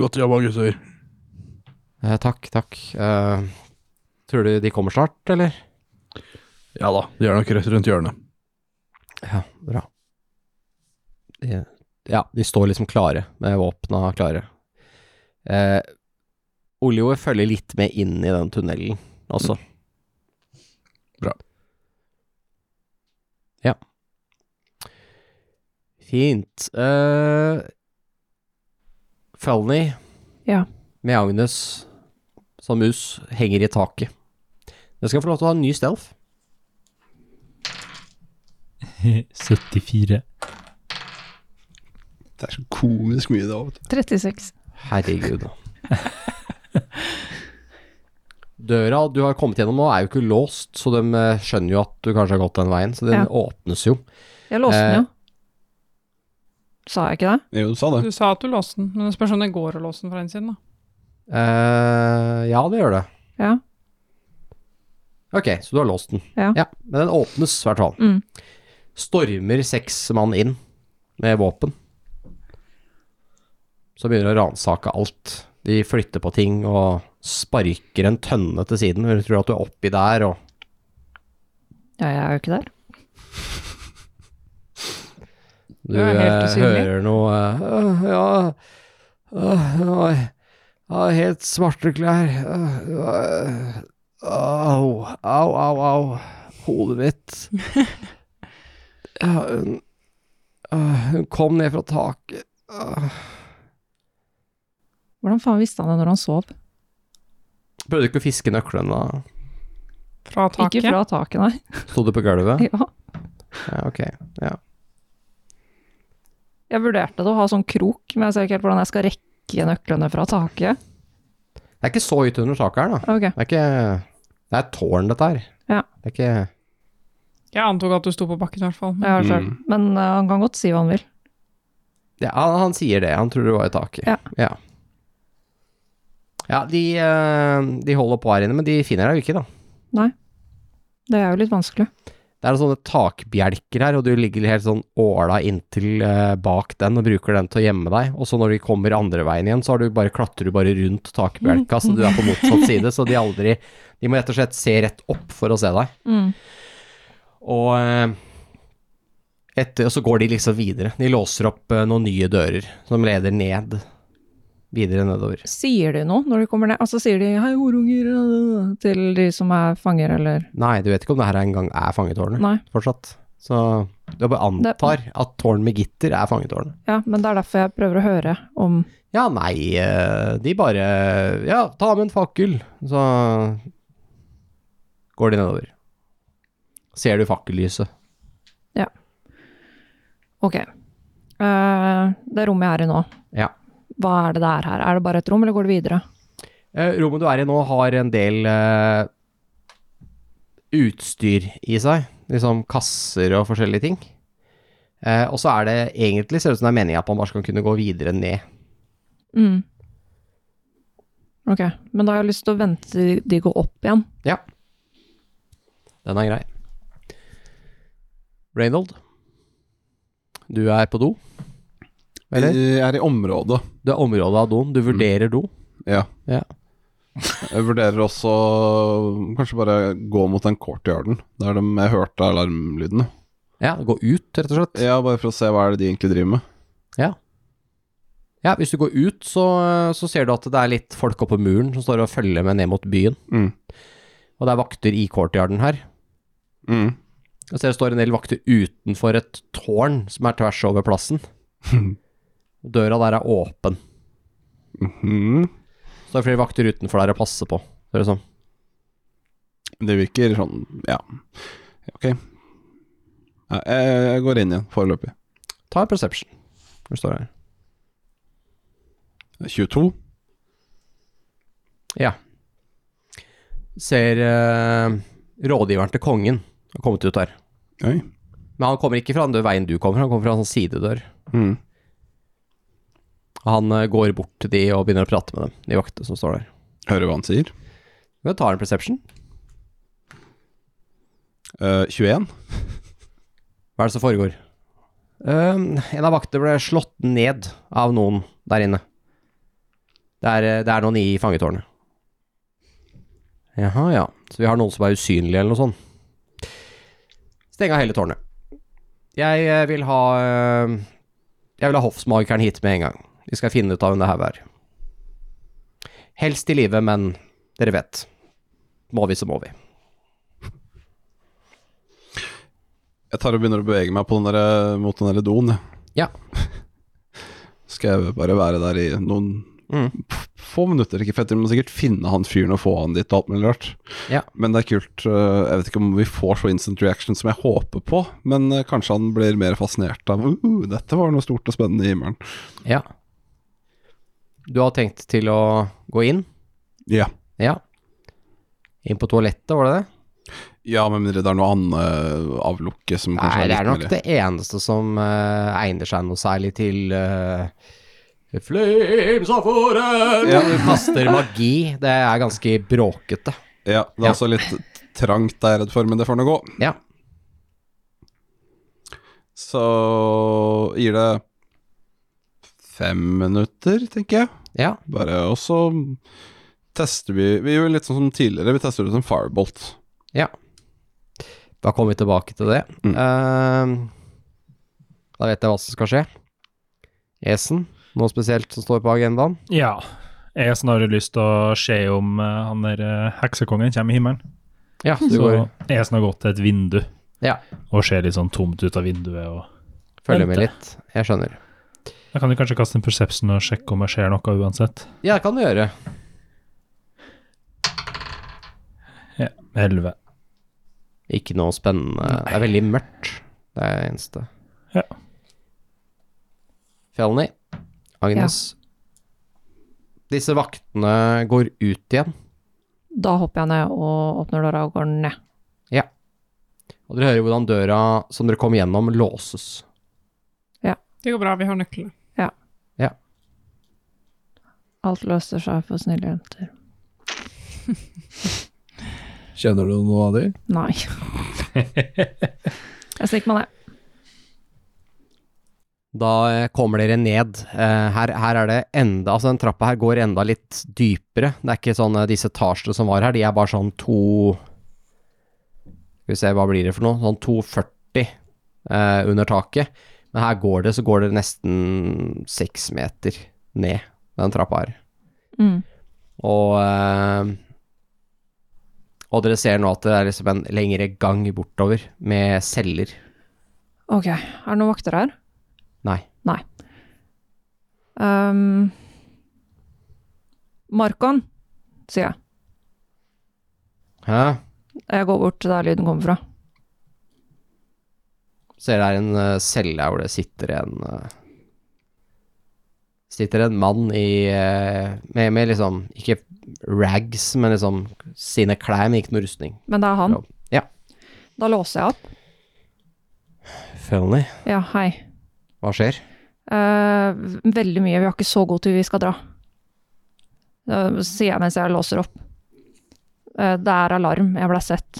S6: Godt jobba, gutter.
S2: Eh, takk, takk. Eh, tror du de kommer snart, eller?
S6: Ja da, de er nok rett rundt hjørnet.
S2: Ja, bra. De, ja, de står liksom klare, med våpna klare. Eh, Olio følger litt med inn i den tunnelen også.
S6: Bra.
S2: Ja. Fint. Eh, Felny
S4: Ja.
S2: med Agnes som mus henger i taket. Jeg skal få lov til å ha en ny stealth.
S3: 74.
S7: Det er så komisk mye det òg.
S4: 36.
S2: Herregud, da. Døra du har kommet gjennom nå, er jo ikke låst, så de eh, skjønner jo at du kanskje har gått den veien, så den
S4: Ja.
S2: åpnes jo.
S4: Jeg låste
S2: Eh.
S4: den jo. Sa jeg ikke det?
S7: Jo, du sa det.
S5: Du sa at du låste den, men det spørs om det går å låse den fra innsiden, da.
S2: Eh, ja, det gjør det.
S4: Ja.
S2: Ok, så du har låst den.
S4: Ja.
S2: Men den åpnes, i hvert fall.
S4: Mm.
S2: Stormer seks mann inn med våpen. Så begynner de å ransake alt. De flytter på ting og sparker en tønne til siden. Hun tror at du er oppi der og
S4: ja, jeg er jo ikke der.
S2: Du
S5: Det er
S2: eh,
S5: helt usynlig.
S2: hører noe eh, «Åh, Ja, åh, det var- jeg har helt svarte klær. Åh, det var, eh, Au, au, au, au. Hodet mitt. Ja, hun åh, Hun kom ned fra taket. eh. Åh.
S4: Hvordan faen visste han det når han sov?
S2: Prøvde du ikke å fiske nøklene, da?
S5: Fra taket.
S4: Ikke fra taket, nei.
S2: Sto du på gulvet?
S4: Ja.
S2: Ja, ok.
S4: Jeg vurderte det å ha sånn krok, men jeg ser ikke helt hvordan jeg skal rekke nøklene fra taket.
S2: Det er ikke så høyt under taket her, da.
S4: Ok,
S2: Det er ikke Det er et tårn, dette her.
S4: Ja.
S2: Det er ikke
S5: Jeg antok at du sto på bakken i hvert fall.
S4: jeg har det selv.
S7: Mm.
S4: Men eh, han kan godt si hva han vil.
S2: Ja, han, han sier det. Han tror det var i taket.
S4: Ja.
S2: ja. Ja, de, eh, de holder på her inne, men de finner deg jo ikke, da.
S4: Det er jo litt vanskelig.
S2: Det er sånne takbjelker her, og du ligger helt sånn åla inntil eh, bak den og bruker den til å gjemme deg. Og så når de kommer andre veien igjen, så har du bare, klatrer du bare rundt takbjelka, så du er på motsatt side. Så de aldri De må rett og slett se rett opp for å se deg. Og eh, etter, og så går de liksom videre. De låser opp eh, noen nye dører som leder ned. Videre nedover.
S4: Sier de noe når de kommer ned? Altså sier de 'hei, horunger' øh, til de som er fanger, eller
S2: Nei, du vet ikke om det her engang er fangetårnet
S4: Nei.
S2: fortsatt. Så du bare antar at tårn med gitter er fangetårnet.
S4: Ja, men det er derfor jeg prøver å høre om
S2: Ja, nei, eh, de bare Ja, ta med en fakkel, så går de nedover. Ser du fakkellyset?
S4: Ok. Eh, det rommet jeg er i nå,
S2: Ja.
S4: hva er det det er her? Er det bare et rom, eller går det videre?
S2: Eh, Rommet du er i nå har en del eh, utstyr i seg, liksom kasser og forskjellige ting. Eh, og så er det egentlig ser det ut som det er meninga at man bare skal kunne gå videre ned.
S4: Mm. Ok, men da har jeg lyst til å vente til de går opp igjen.
S2: Den er grei. Reynold, du er på do. Eller? Mm.
S7: Jeg er i området.
S2: Du Eh, er området av doen. Du vurderer do.
S7: Ja.
S2: Ja.
S7: Jeg vurderer også kanskje bare gå mot den courtyarden, der de, jeg hørte alarmlydene.
S2: Ja, gå ut, rett og slett.
S7: Ja, bare for å se hva er det de egentlig driver med.
S2: Ja, Hvis du går ut, så, så ser du at det er litt folk oppå muren som står og følger med ned mot byen.
S7: Mm.
S2: Og det er vakter i courtyarden her.
S7: Mm.
S2: Jeg ser det står en del vakter utenfor et tårn som er tvers over plassen. Døra der er åpen.
S7: Mhm.
S2: Så det er flere vakter utenfor der å passe på. Ser det sånn.
S7: Det virker sånn, ja. Ok. Ja, Jeg, jeg går inn igjen, foreløpig.
S2: Ta en perception. Hvor står det her?
S7: 22.
S2: Ser eh, rådgiveren til kongen har kommet ut der.
S7: Oi.
S2: Men han kommer ikke fra den veien du kommer, han kommer fra en sånn sidedør.
S7: Mm.
S2: Han eh, går bort til de og begynner å prate med dem, de vaktene som står der.
S7: Hører hva han sier.
S2: Men tar en perception.
S7: Eh, 21.
S2: Hva er det som foregår? Ehm, en av vaktene ble slått ned av noen der inne. Det er, eh, det er noen i fangetårnet. Jaha, ja. Så vi har noen som er usynlige eller noe sånt. Steng av hele tårnet. Jeg eh, vil ha eh, Jeg vil ha hoffsmakeren hit med en gang. Vi skal finne ut av hvem det her er. Helst i live, men dere vet. Må vi, så må vi.
S7: Jeg tar og begynner å bevege meg på den der, eh, mot den der doen. jeg.
S2: Ja.
S7: Skal jeg bare være der i noen
S2: Mm.
S7: f- få minutter? Ikke fett, vi må sikkert finne han fyren og få han dit og alt mulig rart.
S2: Ja.
S7: Men det er kult. øh, Jeg vet ikke om vi får så instant reaction som jeg håper på, men øh, kanskje han blir mer fascinert av uh, dette var noe stort og spennende i himmelen.
S2: Ja. Du har tenkt til å gå inn?
S7: Ja.
S2: Ja. Inn på toalettet, var det det?
S7: Ja, med mindre det er noe annet øh, avlukke som kanskje
S2: Nei, det er
S7: litt
S2: nok
S7: mer
S2: det eneste som eh, egner seg noe særlig til eh, The Flames of Oren!
S7: Ja.
S2: Du kaster magi. Det er ganske bråkete.
S7: Ja, det er altså litt trangt der, jeg er redd for, men det får nå gå.
S2: Ja.
S7: Så gir det fem minutter, tenker jeg.
S2: Ja.
S7: Bare, og så tester vi Vi gjør litt sånn som tidligere, vi tester ut en firebolt.
S2: Da kommer vi tilbake til det.
S7: Mm.
S2: Ehm, da vet jeg hva som skal skje. Esen, noe spesielt som står på agendaen?
S3: Ja. Jeg har snarere lyst til å se om eh, han der eh, heksekongen kommer i himmelen.
S2: Ja, du
S3: Så
S2: går
S3: jeg har gått til et vindu
S2: Ja.
S3: og ser litt sånn tomt ut av vinduet. Og
S2: følger med litt. Jeg skjønner.
S3: jeg kan jo kanskje kaste en perception og sjekke om jeg ser noe uansett.
S2: Ja, det kan du gjøre.
S3: Ja, Elleve.
S2: Ikke noe spennende. Det er veldig mørkt. Det er det eneste.
S3: Ja.
S2: Fjalni, Agnes. Disse vaktene går ut igjen,
S4: Da hopper jeg ned og åpner døra og går ned.
S2: og dere hører hvordan døra som dere kom gjennom, låses.
S5: Det går bra, vi har nøklene.
S4: Alt løser seg for snille jenter.
S6: Kjenner du noen av de?
S4: Nei. jeg stikker meg ned.
S2: Da eh, kommer dere ned. Eh, her, her er det enda Altså, den trappa her går enda litt dypere. Det er ikke sånn eh, disse etasjene som var her, de er bare sånn to Skal vi se, hva blir det for noe? Sånn 2,40 eh, under taket. Men her går det, så går det nesten seks meter ned den trappa her.
S4: Mm.
S2: Og eh, Og dere ser nå at det er liksom en lengre gang bortover med celler.
S4: Ok, er det noen vakter her?
S2: Nei.
S4: Nei. Ehm, Markon, sier jeg.
S2: Hæ?
S4: Jeg går bort til der lyden kommer fra.
S2: Ser det er en eh, celle her hvor det sitter en eh, Sitter en mann i eh, med, med liksom Ikke rags, men liksom sine klær, men ikke noe rustning.
S4: Men det er han.
S2: Ja.
S4: Da låser jeg opp.
S2: Felony,
S4: Ja, hei.
S2: hva skjer?
S4: Eh, veldig mye. Vi har ikke så god tid. Vi skal dra. Eh, sier jeg mens jeg låser opp. Eh, det er alarm. Jeg ble sett.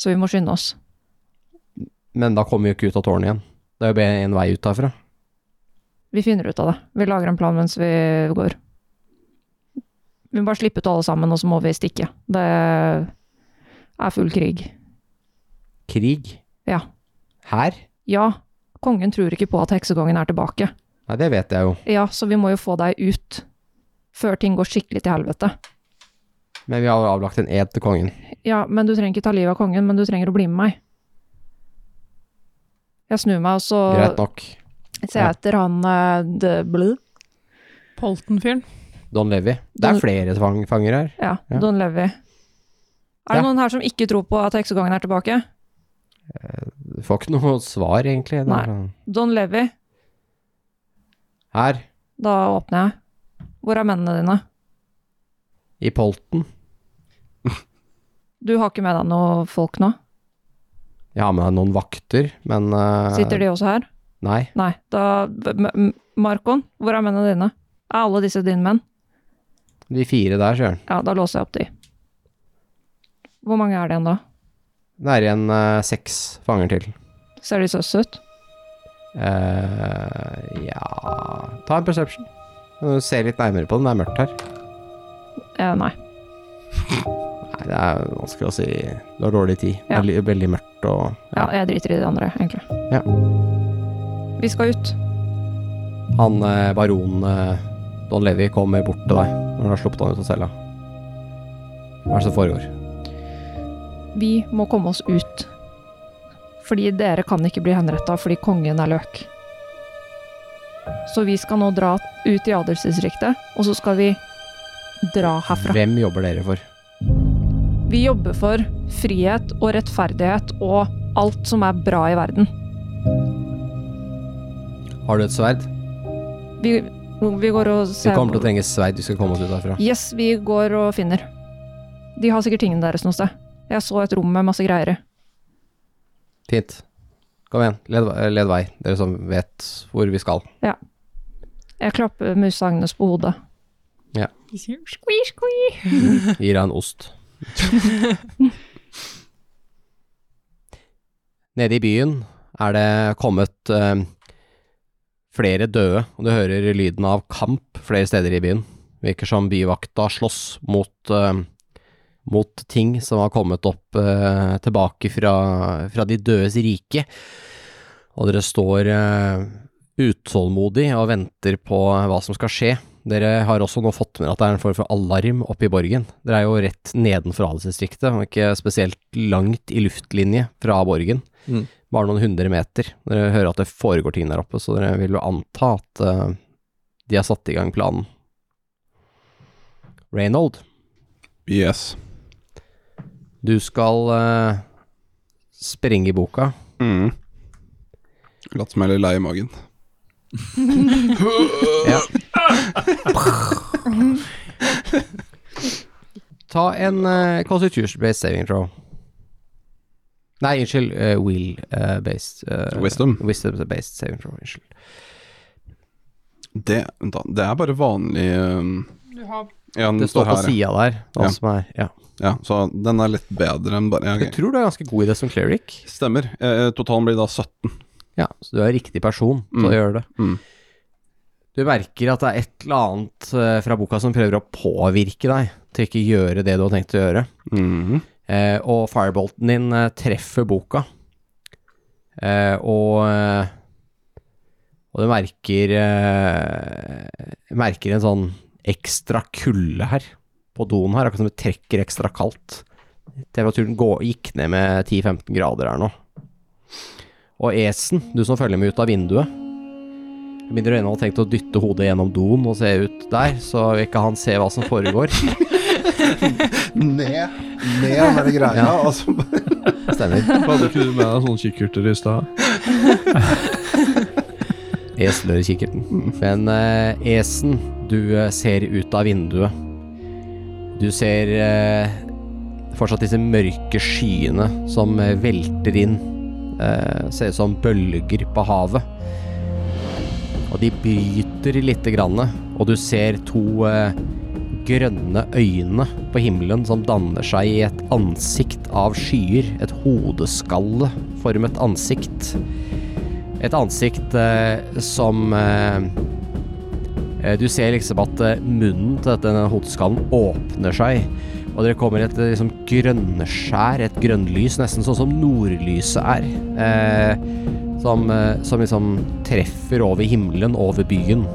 S4: Så vi må skynde oss.
S2: Men da kommer vi jo ikke ut av tårnet igjen. Det er jo bare en vei ut herfra.
S4: Vi finner ut av det. Vi lager en plan mens vi går. Vi må bare slippe ut alle sammen, og så må vi stikke. Det er full krig.
S2: Krig?
S4: Ja.
S2: Her?
S4: Ja, kongen tror ikke på at heksekongen er tilbake.
S2: Nei, det vet jeg jo.
S4: Ja, så vi må jo få deg ut. Før ting går skikkelig til helvete.
S2: Men vi har jo avlagt en ed til kongen.
S4: Ja, men du trenger ikke ta livet av kongen, men du trenger å bli med meg. Jeg snur meg, og så
S2: Greit nok.
S4: ser jeg etter han eh, de Blue.
S5: Polten-fyren.
S2: Don Levi. Det
S4: Don-
S2: er flere tvang fanger her.
S4: Ja,
S2: Ja.
S4: Don Levi. Er
S2: Ja.
S4: det noen her som ikke tror på at heksekongen er tilbake?
S2: Du får ikke noe svar, egentlig. Det er
S4: Nei.
S2: sånn-
S4: Don Levi,
S2: Her,
S4: da åpner jeg. Hvor er mennene dine?
S2: i Polten.
S4: Du har ikke med deg noe folk nå?
S2: Jeg har med deg noen vakter, men eh,
S4: Sitter de også her?
S2: Nei.
S4: Nei, da M- M- Markon, hvor er mennene dine? Er alle disse dine menn?
S2: De fire der, Søren.
S4: Ja, da låser jeg opp de. Hvor mange er det igjen da?
S2: Det er igjen eh, seks fanger til.
S4: Ser de søs ut?
S2: Eh, ja Ta en perception. Du ser litt nærmere på den. Det er mørkt her.
S4: Eh, nei.
S2: Nei, det er vanskelig å si. Du har dårlig tid.
S4: Ja.
S2: Veldig, veldig mørkt og
S4: Ja, jeg driter i de andre, egentlig.
S2: Ja.
S4: Vi skal ut.
S2: Han eh, baronen eh, Don Levi kommer bort til deg når du har sluppet han ut av cella. Hva er det som foregår?
S4: Vi må komme oss ut. Fordi dere kan ikke bli henretta fordi kongen er løk. Så vi skal nå dra ut i adelsdistriktet, og så skal vi dra herfra.
S2: Hvem jobber dere for?
S4: Vi jobber for frihet og rettferdighet og alt som er bra i verden.
S2: Har du et sverd?
S4: Vi, vi går og
S2: Vi
S4: ser
S2: kommer til å trenge sverd. Vi skal komme oss ut herfra.
S4: Yes, vi går og finner. De har sikkert tingene deres noe sted. Jeg så et rom med masse greier i.
S2: Fint. Kom igjen, led, led vei, dere som vet hvor vi skal.
S4: Jeg klapper Mus Agnes på hodet.
S2: Gir deg en ost. Nede i byen er det kommet eh, flere døde, og du hører lyden av kamp flere steder i byen. Virker som byvakta slåss mot, eh, mot ting som har kommet opp eh, tilbake fra, fra de dødes rike. Og dere står eh, utålmodig og venter på eh, hva som skal skje. Dere har også nå fått med at det er en form for alarm oppe i borgen. Dere er jo rett nedenfor adelsdistriktet, og ikke spesielt langt i luftlinje fra borgen.
S6: Mm.
S2: Bare noen hundre meter. Dere hører at det foregår ting der oppe, så dere vil jo anta at eh, de har satt i gang planen. Reynold,
S7: Yes.
S2: du skal eh, sprenge boka.
S7: Mm. Latt som jeg er litt lei i magen.
S2: Ta en uh, constitution-based saving throw. Nei, unnskyld. eh, will-based
S7: Wisdom.
S2: Wisdom-based saving throw. Unnskyld.
S7: Det, vent da, det er bare vanlig um,
S5: Du har
S7: ja, den
S2: Det står på
S7: Mm. her, ja.
S2: sida der. Hva
S7: Ja.
S2: som er, ja.
S7: ja. Så den er litt bedre enn bare ja,
S2: Jeg
S7: ok.
S2: tror du er ganske god i det som cleric.
S7: Stemmer. Eh, eh, totalen blir da 17.
S2: Ja, så du er riktig person til
S7: Mm.
S2: å gjøre det.
S7: Mm.
S2: Du merker at det er et eller annet eh, fra boka som prøver å påvirke deg til ikke gjøre det du har tenkt å gjøre.
S7: Mhm.
S2: Eh, og firebolten din eh, treffer boka. Eh, og eh, Og du merker eh, Merker en sånn ekstra kulde her på doen her. Akkurat som det trekker ekstra kaldt. Temperaturen gå- gikk ned med 10-15 grader her nå. Og Esen, du som følger med ut av vinduet Med mindre Reynold har tenkt å dytte hodet gjennom doen og se ut der, så ikke han ser hva som foregår.
S8: Ned, ned med det greia.
S2: Ja.
S6: altså,
S8: og så bare-
S2: Stemmer.
S6: Hadde ikke du med deg sånne kikkerter i stad?
S2: Eselør i kikkerten. Men eh, Esen, du eh, ser ut av vinduet. Du ser eh, fortsatt disse mørke skyene som eh, velter inn. Eh, ser ut som bølger på havet. Og de bryter lite grann, og du ser to eh, grønne øyne på himmelen som danner seg i et ansikt av skyer. Et hodeskalleformet ansikt. Et ansikt eh, som eh, eh, Du ser liksom at eh, munnen til dette- denne hodeskallen åpner seg. Og dere kommer et eh, liksom grønnskjær, et grønnlys, nesten sånn som nordlyset er. Eh, som, eh, som liksom treffer over himmelen, over byen.